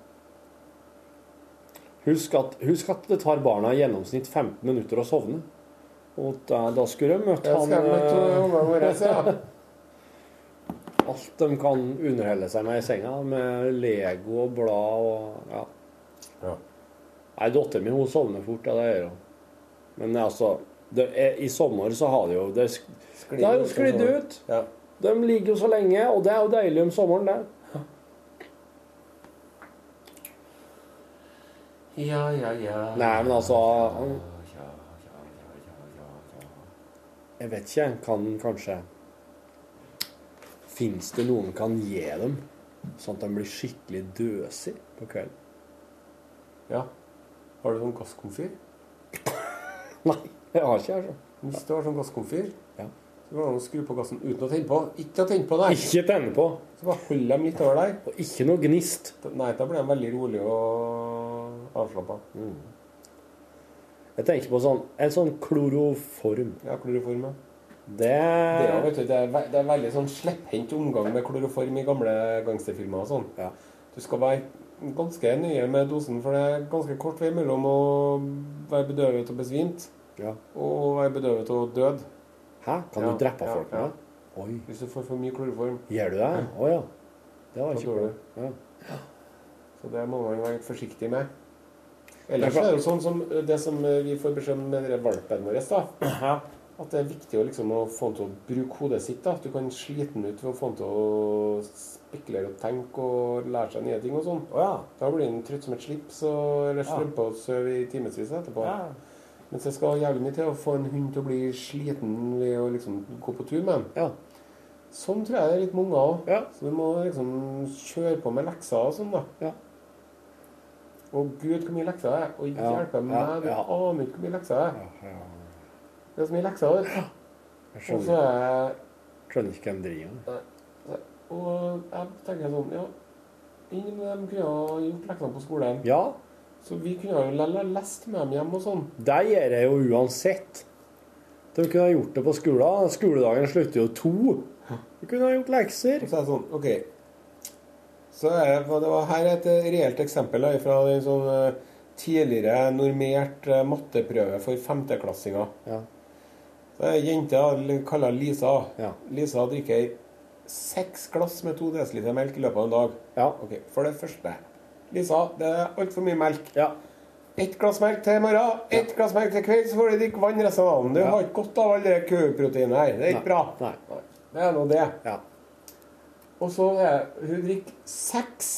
Speaker 7: Husk at, husk at det tar barna i gjennomsnitt 15 minutter å sovne. Og da, da skulle de møtt
Speaker 1: Det
Speaker 7: han
Speaker 1: skal med to
Speaker 7: eh,
Speaker 1: unger våre, ja.
Speaker 7: alt de kan underholde seg med i senga, med Lego og blad og Ja.
Speaker 1: Ja.
Speaker 7: Nei, datteren min hun sovner fort, ja, det gjør hun. Men altså det er, I sommer så har det jo Det, sk- det har jo sklidd ut.
Speaker 1: Ja.
Speaker 7: De ligger jo så lenge, og det er jo deilig om sommeren, det.
Speaker 1: [LAUGHS] Ja, ja, ja.
Speaker 7: Nei, men altså han- Jeg vet ikke. Kan kanskje Fins det noen kan gi dem, sånn at de blir skikkelig døsig på kvelden?
Speaker 1: ja. Har du sånn gasskomfyr?
Speaker 7: Nei, jeg har ikke, altså.
Speaker 1: Hvis du har sånn gasskomfyr,
Speaker 7: Ja.
Speaker 1: så går det an å skru på gassen uten å tenne på. Ikke å tenne på, nei.
Speaker 7: Ikke tenne på.
Speaker 1: Så bare hold dem litt over der.
Speaker 7: Og ikke noe gnist.
Speaker 1: Nei, da blir de veldig rolige og avslappa.
Speaker 7: Jeg tenker på sånn, en sånn kloroform.
Speaker 1: Ja, kloroform, ja.
Speaker 7: Det,
Speaker 1: Det, er jo, vet du, det, er, ve det er veldig sånn slepphendt omgang med kloroform i gamle gangsterfilmer og sånn.
Speaker 7: Ja.
Speaker 1: Du skal være ganske nøye med dosen, for det er ganske kort vei mellom å være bedøvet og besvimt
Speaker 7: ja.
Speaker 1: og være bedøvet og død.
Speaker 7: Hæ? Kan
Speaker 1: Ja,
Speaker 7: du drepe
Speaker 1: ja,
Speaker 7: folk med
Speaker 1: ja.
Speaker 7: det? Oi.
Speaker 1: Hvis du får for mye kloroform,
Speaker 7: Gjør du det? Å ja. Det var
Speaker 1: da
Speaker 7: ikke
Speaker 1: dør du.
Speaker 7: ja.
Speaker 1: Så det må man være forsiktig med. Ellers er det jo sånn som det som vi får beskjed om med denne valpen vår, da. At det er viktig å, liksom, å få han til å bruke hodet sitt. da. At du kan slite han ut ved å få han til å spekulere og tenke og lære seg nye ting og sånn.
Speaker 7: Å ja.
Speaker 1: Da blir han trøtt som et slips og eller strømpe og sove i timevis etterpå. Mens det skal jævlig mye til å få en hund til å bli sliten ved å liksom gå på tur med den.
Speaker 7: Ja.
Speaker 1: Sånn tror jeg det er litt med unger òg.
Speaker 7: Ja.
Speaker 1: Så du må liksom kjøre på med lekser og sånn, da.
Speaker 7: Ja.
Speaker 1: Å gud, hvor mye lekser det er. Og
Speaker 7: Ja,
Speaker 1: hjelpe meg,
Speaker 7: ja,
Speaker 1: du
Speaker 7: ja.
Speaker 1: aner ikke hvor mye lekser det er.
Speaker 7: Ja, ja.
Speaker 1: Det er så mye lekser der.
Speaker 7: Jeg
Speaker 1: Og så
Speaker 7: skjønner,
Speaker 1: er jeg
Speaker 7: skjønner ikke hvem driver med det.
Speaker 1: Og jeg tenker sånn, ja Ingen av dem kunne ha gjort leksene på skolen.
Speaker 7: Ja,
Speaker 1: Så vi kunne ha jo lell ha lest med dem hjem og sånn.
Speaker 7: det gjør jeg jo uansett. De kunne ha gjort det på skolen. Skoledagen slutter jo to. Du kunne ha gjort lekser.
Speaker 1: Og så er det sånn, ok Så er det, for det var her et eh, reelt eksempel da, fra en sånn eh, tidligere normert eh, matteprøve for femteklassinger.
Speaker 7: Ja.
Speaker 1: Så er det ei jente jeg kaller Lisa.
Speaker 7: Ja.
Speaker 1: Lisa drikker seks glass med to desiliter melk i løpet av en dag.
Speaker 7: Ja.
Speaker 1: Ok, For det første Lisa, det er altfor mye melk.
Speaker 7: Ja.
Speaker 1: Ett glass melk til i morgen, ett glass melk til kveld, så får du drikke vann resten av dagen. Du har ikke godt av all det kuproteinet her. Det er ikke bra.
Speaker 7: Nei.
Speaker 1: Det er nå det.
Speaker 7: Ja.
Speaker 1: Og så er hun drikker seks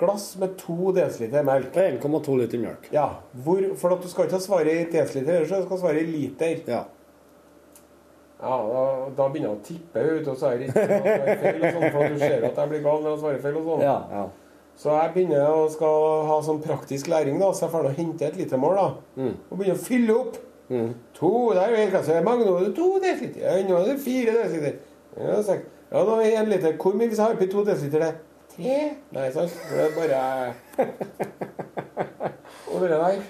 Speaker 1: glass med to desiliter melk.
Speaker 7: Det er 1,2 liter mjølk.
Speaker 1: Ja, hvor, for at du skal ikke ha svaret i desiliter, så du skal svare i liter.
Speaker 7: Ja.
Speaker 1: Ja, da, da begynner hun å tippe ut, og så er det ikke noe som er feil, og sånn, for at du ser at jeg blir gal når jeg svarer feil. og sånn.
Speaker 7: ja.
Speaker 1: Så jeg begynner å skal ha sånn praktisk læring, da, så jeg får nå hente et lite mål. da. Og begynner å fylle opp. To der er jo helt klasse. Mange nå er det to desiliter. Ja, nå er det fire desiliter. Ja, seks. Ja, nå er det en liter. Hvor mye hvis jeg har oppi to desiliter? Det? Tre? Nei, sant? For Det er bare [LAUGHS] Og det der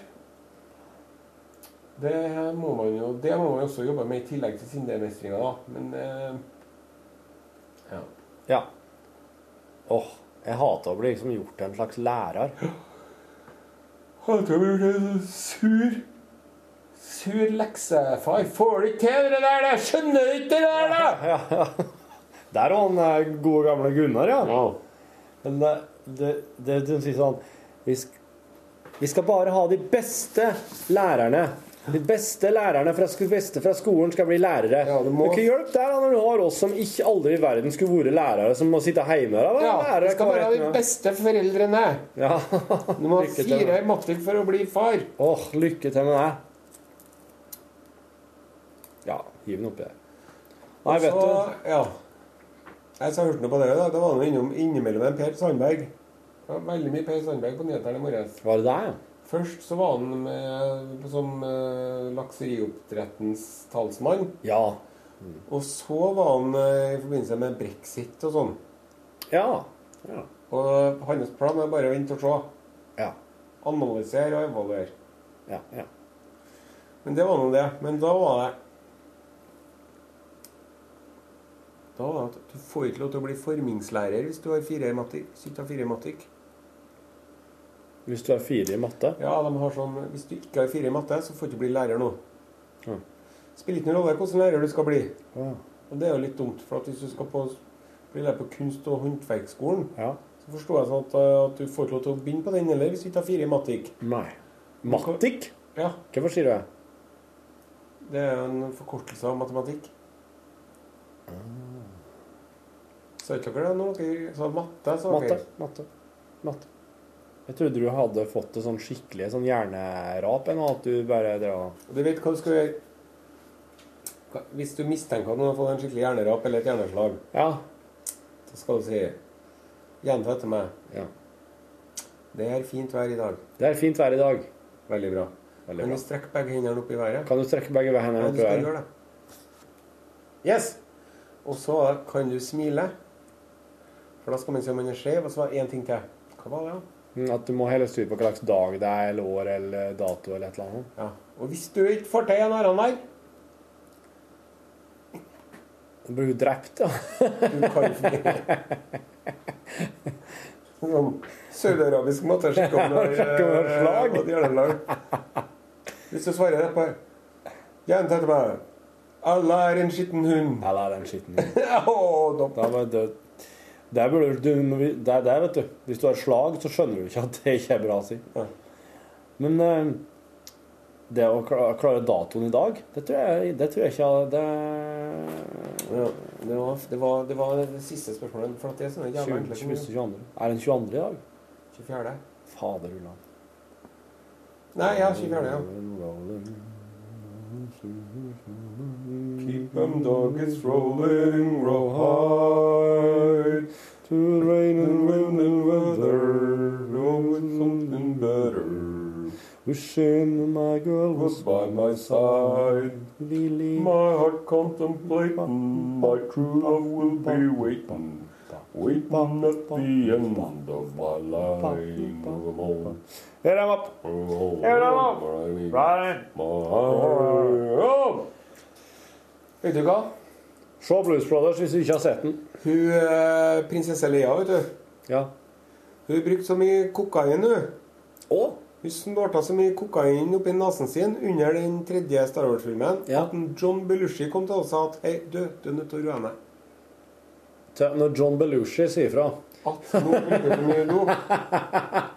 Speaker 1: Det må man jo Det må man jo også jobbe med i tillegg til sinnemestringa, da. Men eh, ja.
Speaker 7: Ja. Åh, jeg hater å bli liksom gjort til en slags lærer. [LAUGHS]
Speaker 1: Hater å bli så sur. Sur leksefar. Får du ikke til det der, da? Skjønner du ikke det der, da?
Speaker 7: Ja, ja. Der var han eh, gode gamle Gunnar, ja. Men eh, det, det, hun sier sånn vi, sk vi skal bare ha de beste lærerne. De beste lærerne fra, sk beste fra skolen skal bli lærere.
Speaker 1: Ja,
Speaker 7: du
Speaker 1: det må-
Speaker 7: kan hjelpe der da, når du har oss som ikke aldri i verden skulle vært lærere, som må sitte hjemme. Da,
Speaker 1: Ja,
Speaker 7: lærere,
Speaker 1: vi skal
Speaker 7: kan
Speaker 1: bare ha
Speaker 7: være
Speaker 1: de
Speaker 7: et-
Speaker 1: beste foreldrene.
Speaker 7: Ja. [LAUGHS]
Speaker 1: Du må ha
Speaker 7: Lykke til, da.
Speaker 1: fire i matte for å bli far.
Speaker 7: Åh, lykke til med det. Ja, hiv den oppi der. Nei, vet
Speaker 1: Så,
Speaker 7: du.
Speaker 1: ja. Jeg så hørte noe på det. da. Det var noe innom, innimellom en Per Sandberg. Det var veldig mye Per Sandberg på nyhetene i morges.
Speaker 7: Var det deg, ja?
Speaker 1: Først så var han med, som eh, lakserioppdrettens talsmann.
Speaker 7: Ja.
Speaker 1: Og så var han eh, i forbindelse med brexit og sånn.
Speaker 7: Ja. Ja.
Speaker 1: Og hans plan er bare å vente og se.
Speaker 7: Ja.
Speaker 1: Analysere og evaluere.
Speaker 7: Ja. ja.
Speaker 1: Men det var nå det. Men da var det Da var det at du får ikke lov til å bli formingslærer hvis du har fire i matikk. Hvis du ikke har fire i matikk.
Speaker 7: Hvis du er fire i matte.
Speaker 1: Ja, de har sånn Hvis du ikke har fire i matte, så får du ikke bli lærer nå.
Speaker 7: Mm.
Speaker 1: Spiller ikke noen rolle hvilken lærer du skal bli.
Speaker 7: Ja.
Speaker 1: Og det er jo litt dumt. For at hvis du skal på, bli lærer på kunst- og håndverksskolen,
Speaker 7: ja.
Speaker 1: så forstår jeg sånn at, eh, at du får ikke lov til å begynne på den heller hvis du ikke har fire i matikk.
Speaker 7: Nei. Matikk?
Speaker 1: Ja,
Speaker 7: Hvorfor sier du det?
Speaker 1: Det er jo en forkortelse av matematikk. Sa ikke dere det når dere sa matte? Sa
Speaker 7: Matte.
Speaker 1: dere.
Speaker 7: Matte. Matte. Jeg trodde du hadde fått det sånn skikkelig sånn hjernerap enn at du bare drev og
Speaker 1: Og du vet hva du skal gjøre Hva- Hvis du mistenker at noen har fått en skikkelig hjernerap eller et hjerneslag,
Speaker 7: Ja.
Speaker 1: så skal du si Gjenta etter meg.
Speaker 7: Ja.
Speaker 1: Det er fint vær i dag.
Speaker 7: Det er fint vær i dag.
Speaker 1: Veldig bra.
Speaker 7: Veldig
Speaker 1: Kan du
Speaker 7: bra.
Speaker 1: strekke begge hendene opp i været?
Speaker 7: Kan du strekke begge
Speaker 1: Ja,
Speaker 7: hendene
Speaker 1: du
Speaker 7: opp i
Speaker 1: skal
Speaker 7: været?
Speaker 1: gjøre det. Yes! Og så kan du smile. For da skal man se om man er skeiv. Og så var det én ting til. Hva var det? da?
Speaker 7: Mm, At du må hele styre på hva slags dag det er, eller år, eller dato, eller et eller annet.
Speaker 1: Ja. Og hvis du ikke får til en annen der
Speaker 7: Du blir jo drept, ja. [LAUGHS]
Speaker 1: Du kan ikke Sånn Saudi-arabisk måte å [LAUGHS] sjekke om det
Speaker 7: Sjekke om det er slag.
Speaker 1: eh, hjernelag. Hvis du svarer rett på Jenta etter meg. Alle er en skitten [LAUGHS] hund.
Speaker 7: Eller er den skitten din?
Speaker 1: Åh, da-
Speaker 7: Da var det der burde du, du- det er det, vet du. Hvis du har slag, så skjønner du ikke at det ikke er bra å si.
Speaker 1: Ja.
Speaker 7: Men eh, det å kla- klare datoen i dag, det tror jeg, det tror jeg ikke jeg- det
Speaker 1: Ja, det, var, det, var, det var det siste spørsmålet. For at det er sånne jævla
Speaker 7: 20,
Speaker 1: enkle
Speaker 7: 21,
Speaker 1: ting.
Speaker 7: 22. Er den 22. i dag?
Speaker 1: 24.
Speaker 7: Fader ulla.
Speaker 1: Nei, ja, 24. ja. Keep them doggies rolling, roll high. To rain and wind and weather, always something better.
Speaker 7: You soon my girl was by my side. Lily.
Speaker 1: My heart contemplating, my true love will be waiting. Waiting at the end of my life. Oh,
Speaker 7: Hit him up! Hit him up! Ryan!
Speaker 1: Vet du hva?
Speaker 7: Se Blues Brothers hvis du ikke har sett den.
Speaker 1: Hun eh, prinsesse Lea, vet du.
Speaker 7: Ja.
Speaker 1: Hun brukte så mye kokain, hun. Hun snorta så mye kokain oppi nesen sin under den tredje Star Wars-filmen
Speaker 7: Ja.
Speaker 1: at en John Belushi kom til oss og sa at Hei, du, du er nødt til å roe ned.
Speaker 7: Til- Når John Belushi sier fra
Speaker 1: At nå bruker du mye nå.
Speaker 7: [LAUGHS]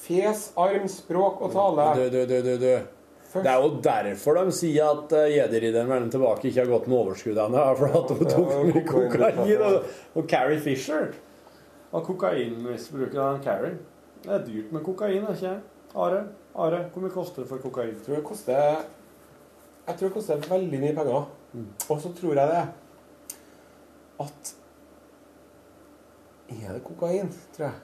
Speaker 1: Fes, arm, språk og
Speaker 7: Du,
Speaker 1: tale.
Speaker 7: du, du, du, du. Det er jo derfor de sier at eh, jederidderen mellom tilbake ikke har gått med overskudd ennå. er [LAUGHS] For at hun tok for mye kokain. altså. Og, og Carrie Fisher.
Speaker 8: Av kokainmisbruket av Carrie. Det er dyrt med kokain, er ikke jeg? Are, Are, hvor mye koster det for kokain?
Speaker 1: Jeg tror det koster Jeg tror det koster veldig mye penger.
Speaker 7: Mm.
Speaker 1: Og så tror jeg det at Er det kokain, tror jeg?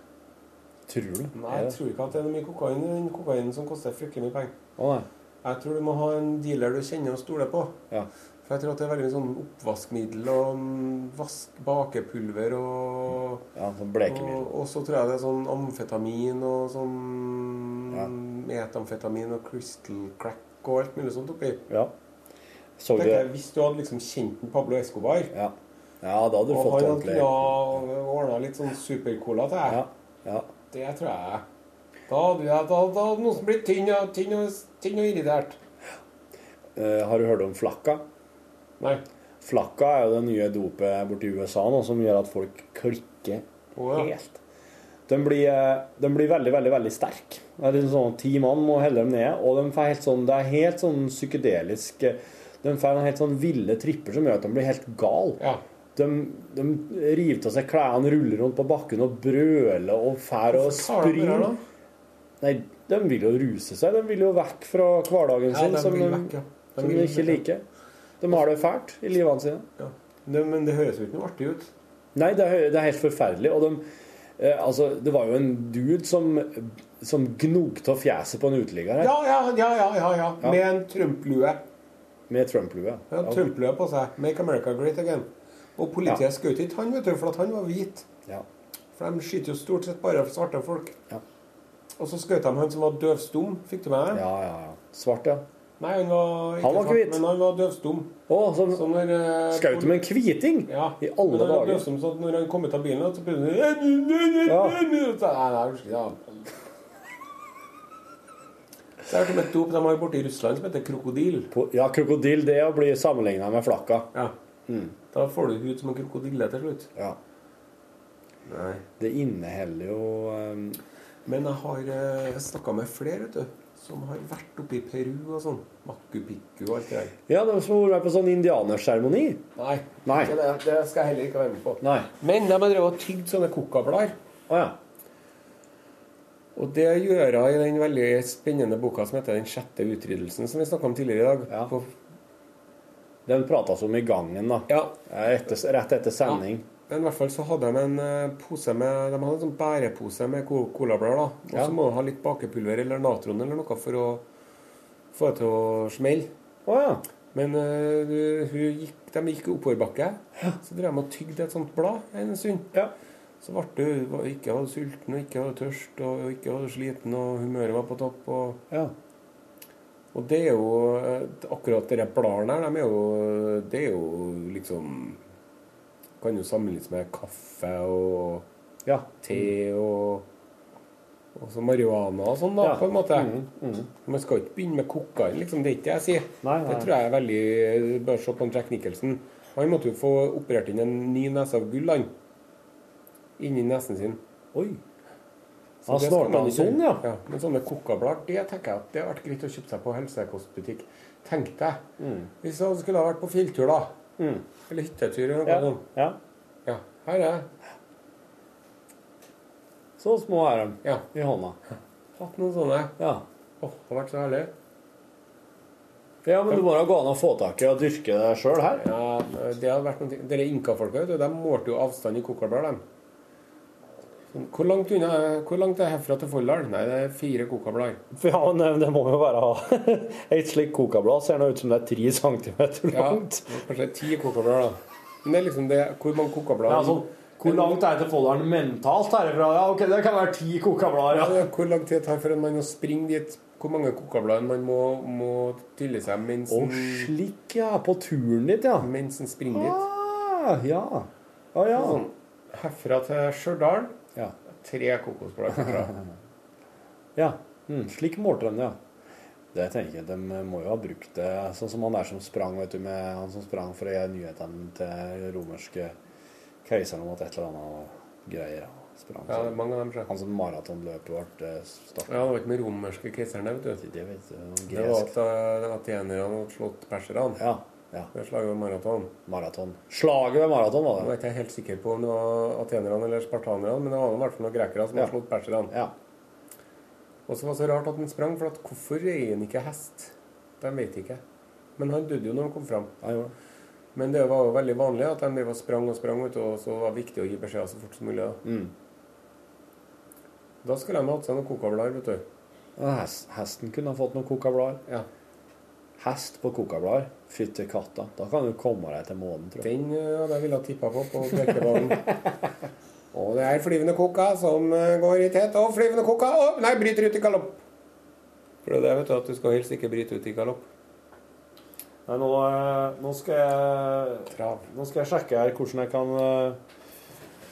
Speaker 7: Tror du?
Speaker 1: Nei, jeg tror ikke at det er mye kokain i den kokainen som koster fryktelig mye penger.
Speaker 7: Å nei.
Speaker 1: Jeg tror du må ha en dealer du kjenner og stoler på.
Speaker 7: Ja.
Speaker 1: For jeg tror at det er veldig mye sånn oppvaskmiddel og mm, vask, bakepulver og
Speaker 7: Ja, sånn
Speaker 1: og,
Speaker 7: blekemiddel.
Speaker 1: og så tror jeg det er sånn amfetamin og sånn
Speaker 7: Ja.
Speaker 1: metamfetamin og crystal crack og alt mulig sånt oppi.
Speaker 7: Ja. Så du
Speaker 1: Tenker jeg, Hvis du hadde liksom kjent den Pablo Escobar,
Speaker 7: Ja. ja, da hadde du
Speaker 1: og han
Speaker 7: fått
Speaker 1: hadde
Speaker 7: ordentlig
Speaker 1: kunnet ordna litt sånn supercola til deg,
Speaker 7: Ja. ja.
Speaker 1: det tror jeg Da hadde jeg, da, da hadde noen som blitt tynn og, tynn og, tynn og irritert.
Speaker 7: Eh, har du hørt om flakka?
Speaker 1: Nei.
Speaker 7: Flakka er jo det nye dopet borti USA nå, som gjør at folk klikker
Speaker 1: Å, ja.
Speaker 7: helt. Den blir, eh, den blir veldig, veldig veldig sterk. Det er liksom sånn Ti mann må helle dem ned. Og de får helt sånn, det er helt sånn psykedelisk eh, De får en helt sånn ville tripper som gjør at de blir helt gal.
Speaker 1: Ja.
Speaker 7: De, de river av seg klærne, ruller rundt på bakken og brøler og fær og
Speaker 1: Hva er det der,
Speaker 7: springer.
Speaker 1: da?
Speaker 7: Nei, de vil jo ruse seg. De vil jo vekk fra hverdagen
Speaker 1: Ja,
Speaker 7: sin,
Speaker 1: de
Speaker 7: som,
Speaker 1: vil
Speaker 7: de,
Speaker 1: vekk, ja. De
Speaker 7: som
Speaker 1: vil
Speaker 7: de ikke
Speaker 1: vekk,
Speaker 7: liker. De har det fælt i livene sine.
Speaker 1: Ja. Det, men det høres jo ikke noe artig ut.
Speaker 7: Nei, det er, det er helt forferdelig. Og de, eh, altså, det var jo en dude som, som gnogte av fjeset på en uteligger her,
Speaker 1: Ja, ja, ja, ja, ja, ja. Med en Trump-lue.
Speaker 7: med Trump-lue.
Speaker 1: Ja,
Speaker 7: Ja,
Speaker 1: Trump-lue på seg. 'Make America Great Again'. Og politiet skjøt ikke han, vet du, for at han var hvit.
Speaker 7: ja.
Speaker 1: For de skyter jo stort sett bare svarte folk.
Speaker 7: Ja.
Speaker 1: Og så skjøt de han som var døvstum. Fikk du med
Speaker 7: ja,
Speaker 1: det?
Speaker 7: ja, ja. Svart, ja.
Speaker 1: Nei, han var ikke
Speaker 7: Han var ikke
Speaker 1: svart,
Speaker 7: hvit.
Speaker 1: Men han var døvstum.
Speaker 7: Å, sånn
Speaker 1: Så når eh,
Speaker 7: skjøt de en kviting!
Speaker 1: Ja.
Speaker 7: I
Speaker 1: Men
Speaker 7: alle
Speaker 1: han var
Speaker 7: dager.
Speaker 1: døvstum, så at når han kom ut av bilen, så begynte han
Speaker 7: Ja.
Speaker 1: Så- Nei, nei, unnskyld. Ja. Så jeg hørte om et dop de har borte i Russland som heter krokodil.
Speaker 7: På- Ja, krokodille, det å bli sammenligna med flakka.
Speaker 1: Ja. Da får du hud som en krokodille til slutt.
Speaker 7: Mm. Ja.
Speaker 1: Nei.
Speaker 7: Det inneholder jo eh,
Speaker 1: Men jeg har snakka med flere vet du, som har vært oppe i Peru og sånn. Machu Picchu og alt det der.
Speaker 7: Ja, de som har vært på sånn indianerseremoni.
Speaker 1: Nei.
Speaker 7: Nei.
Speaker 1: ikke Det, det skal jeg heller ikke være med på.
Speaker 7: Nei.
Speaker 1: Men de har drevet og tygd sånne kokablader.
Speaker 7: Å ja.
Speaker 1: Og det gjør hun i den veldig spennende boka som heter 'Den sjette utryddelsen', som vi snakka om tidligere i dag.
Speaker 7: Ja.
Speaker 1: På,
Speaker 7: Den prates om i gangen, da.
Speaker 1: ja.
Speaker 7: Eh, Etter, rett etter sending.
Speaker 1: Men i hvert fall så hadde de en eh, pose med De hadde en sånn bærepose med co- colablader. da. Og så
Speaker 7: Ja.
Speaker 1: må du ha litt bakepulver eller natron eller noe for å få det til å smelle.
Speaker 7: Å ja.
Speaker 1: Men eh, du- hun gikk, de gikk oppoverbakke. Så drev de og tygde et sånt blad en stund.
Speaker 7: Ja.
Speaker 1: Så ble du var- ikke var du sulten, og ikke var du tørst, og og ikke var du sliten, og humøret var på topp. Og,
Speaker 7: ja.
Speaker 1: og det er jo eh, akkurat de der bladene her, de er jo, det er jo liksom Kan jo sammenlignes med kaffe og
Speaker 7: Ja.
Speaker 1: te og og så marihuana og sånn, da,
Speaker 7: Ja. Mm,
Speaker 1: på en måte. Man skal ikke begynne med kokain, liksom. Det er ikke det jeg sier.
Speaker 7: Nei, nei.
Speaker 1: Det tror jeg er veldig Bare se på en Jack Nicholson. Han måtte jo få operert inn en ny nese av gull, han. Inni nesen sin.
Speaker 7: Oi.
Speaker 1: Så
Speaker 7: Han
Speaker 1: det skal
Speaker 7: snorta
Speaker 1: man
Speaker 7: den
Speaker 1: ikke-
Speaker 7: sånn, ja.
Speaker 1: ja. Men sånne kokablader, det tenker jeg at det hadde vært greit å kjøpe seg på helsekostbutikk. Tenk deg.
Speaker 7: Mm.
Speaker 1: Hvis han skulle ha vært på fjelltur, da. Eller hyttetur eller noe
Speaker 7: Ja.
Speaker 1: sånt.
Speaker 7: ja.
Speaker 1: Ja. Her er jeg.
Speaker 7: Så små er de
Speaker 1: Ja.
Speaker 7: i hånda.
Speaker 1: Hatt noen sånne.
Speaker 7: Ja.
Speaker 1: Åh, det har vært så herlig.
Speaker 7: ja, men det må da gå an å få tak i og dyrke det sjøl her.
Speaker 1: Ja, det hadde vært noe Dere inkafolka, vet du, de målte jo avstand i kokablader, de. Sånn, Hvor langt, unna, er- hvor langt er herfra til Folldal? Nei, det er fire kokablader.
Speaker 7: Ja, men det må jo være [LAUGHS] Et slikt kokablad ser nå ut som det er tre centimeter
Speaker 1: Ja,
Speaker 7: langt.
Speaker 1: kanskje ti kokablader, da. Men det er liksom det Hvor mange kokablader
Speaker 7: Ja, sånn, hvor langt er det til Folldalen mentalt herifra? Ja, ok, Det kan være ti
Speaker 1: Ja,
Speaker 7: kokablader. Ja.
Speaker 1: det er Hvor lang tid det tar for en mann å springe dit? Hvor mange kokablader man må, må tylle seg mens
Speaker 7: Og
Speaker 1: en-
Speaker 7: slik, ja. På turen dit, ja.
Speaker 1: mens en springer dit?
Speaker 7: Ah, ja. Ah, ja.
Speaker 1: Sånn, herfra til Stjørdal
Speaker 7: ja.
Speaker 1: tre kokosblader herfra.
Speaker 7: [LAUGHS] Ja, mm, slik målte de det, ja. Det tenker jeg, De må jo ha brukt det sånn som han der som sprang vet du, med han som sprang for å gjøre nyhetene til romerske keiseren om at et eller annet greier. og Sprang,
Speaker 1: Ja, det er
Speaker 7: så.
Speaker 1: mange av dem, sjø.
Speaker 7: Han som maratonløpet ble starta.
Speaker 1: Ja, det var ikke med romerske keiserne, vet du.
Speaker 7: Det vet du, noen
Speaker 1: Det var
Speaker 7: gresk.
Speaker 1: at eh, atenerne hadde slått perserne.
Speaker 7: Ja, ja.
Speaker 1: Det slaget var maraton.
Speaker 7: Maraton. Slaget ved
Speaker 1: Nå
Speaker 7: maraton, var
Speaker 1: er
Speaker 7: det.
Speaker 1: ikke jeg helt sikker på om det var atenerne eller spartanerne, men det var i hvert fall noen grekere som hadde
Speaker 7: Ja.
Speaker 1: slått perserne.
Speaker 7: Ja.
Speaker 1: Og så var det så rart at han sprang, for at hvorfor reier han ikke hest? De vet ikke. Men han døde jo når han kom fram.
Speaker 7: Ja, gjorde det.
Speaker 1: Men det var jo veldig vanlig at de drev og sprang og sprang ut, og så var det viktig å gi beskjeder så fort som mulig. Da,
Speaker 7: Mm.
Speaker 1: da skulle de hatt seg noen kokablader, vet du.
Speaker 7: Ja, Hest, hesten kunne ha fått noen kokablader.
Speaker 1: Ja.
Speaker 7: Hest på kokablader. Fytti katta. Da kan du komme deg til månen, tror jeg.
Speaker 1: Den ja, det ville jeg tippa på på Brekkebanen. [LAUGHS] og det er flyvende koka som eh, går i tett, og flyvende koka og Nei, bryter ut i galopp! For det er det, vet du, at du skal helst ikke bryte ut i galopp.
Speaker 7: Nei, nå, eh, nå skal jeg
Speaker 1: Trav.
Speaker 7: Nå skal jeg sjekke her hvordan jeg kan eh,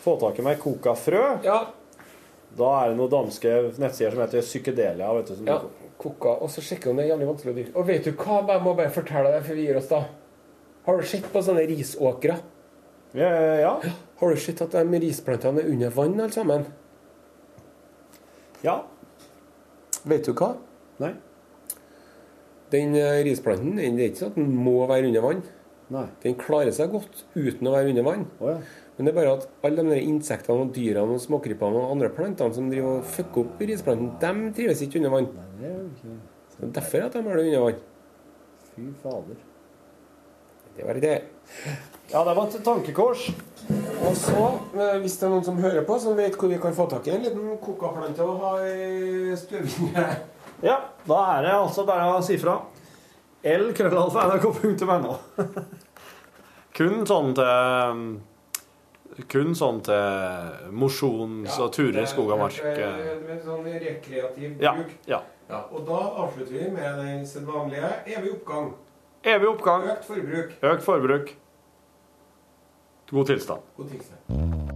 Speaker 7: få tak i meg kokafrø.
Speaker 1: Ja,
Speaker 7: Da er det noen danske nettsider som heter Psykedelia. vet du. Som
Speaker 1: Ja, koka, og så sjekker hun det er jævlig vanskelig å dyrke. Og vet du hva, jeg må bare fortelle deg før vi gir oss, da. Har du sett på sånne risåkre?
Speaker 7: Ja, ja, ja.
Speaker 1: Har du sett at de risplantene er under vann, alle sammen?
Speaker 7: ja.
Speaker 1: Vet du hva?
Speaker 7: Nei.
Speaker 1: Den eh, risplanten den, det er ikke sånn at den må være under vann.
Speaker 7: Nei.
Speaker 1: Den klarer seg godt uten å være under vann.
Speaker 7: Å ja.
Speaker 1: Men det er bare at alle de der insektene og dyrene og småkrypene og andre plantene som driver og fucker opp risplanten, de trives ikke under vann.
Speaker 7: Nei, det er jo ikke
Speaker 1: Det er derfor at de har det under vann.
Speaker 7: Fy fader.
Speaker 1: Det var det.
Speaker 7: Ja, det var et tankekors.
Speaker 1: Og så, eh, hvis det er noen som hører på, som vet hvor vi kan få tak i en liten kokaplante å ha i støvvinge
Speaker 7: Ja, da er det altså bare å si fra.
Speaker 5: L.krøllalfa.nrk.no. [LAUGHS] kun sånn til um, Kun sånn til mosjons- og turer i skog og mark. eh.
Speaker 1: Med sånn rekreativ
Speaker 5: Ja,
Speaker 1: bruk.
Speaker 5: ja.
Speaker 1: Ja, og da avslutter vi med den sedvanlige evig oppgang.
Speaker 5: Evig oppgang,
Speaker 1: Økt forbruk.
Speaker 5: økt forbruk, god tilstand.
Speaker 1: God tilstand.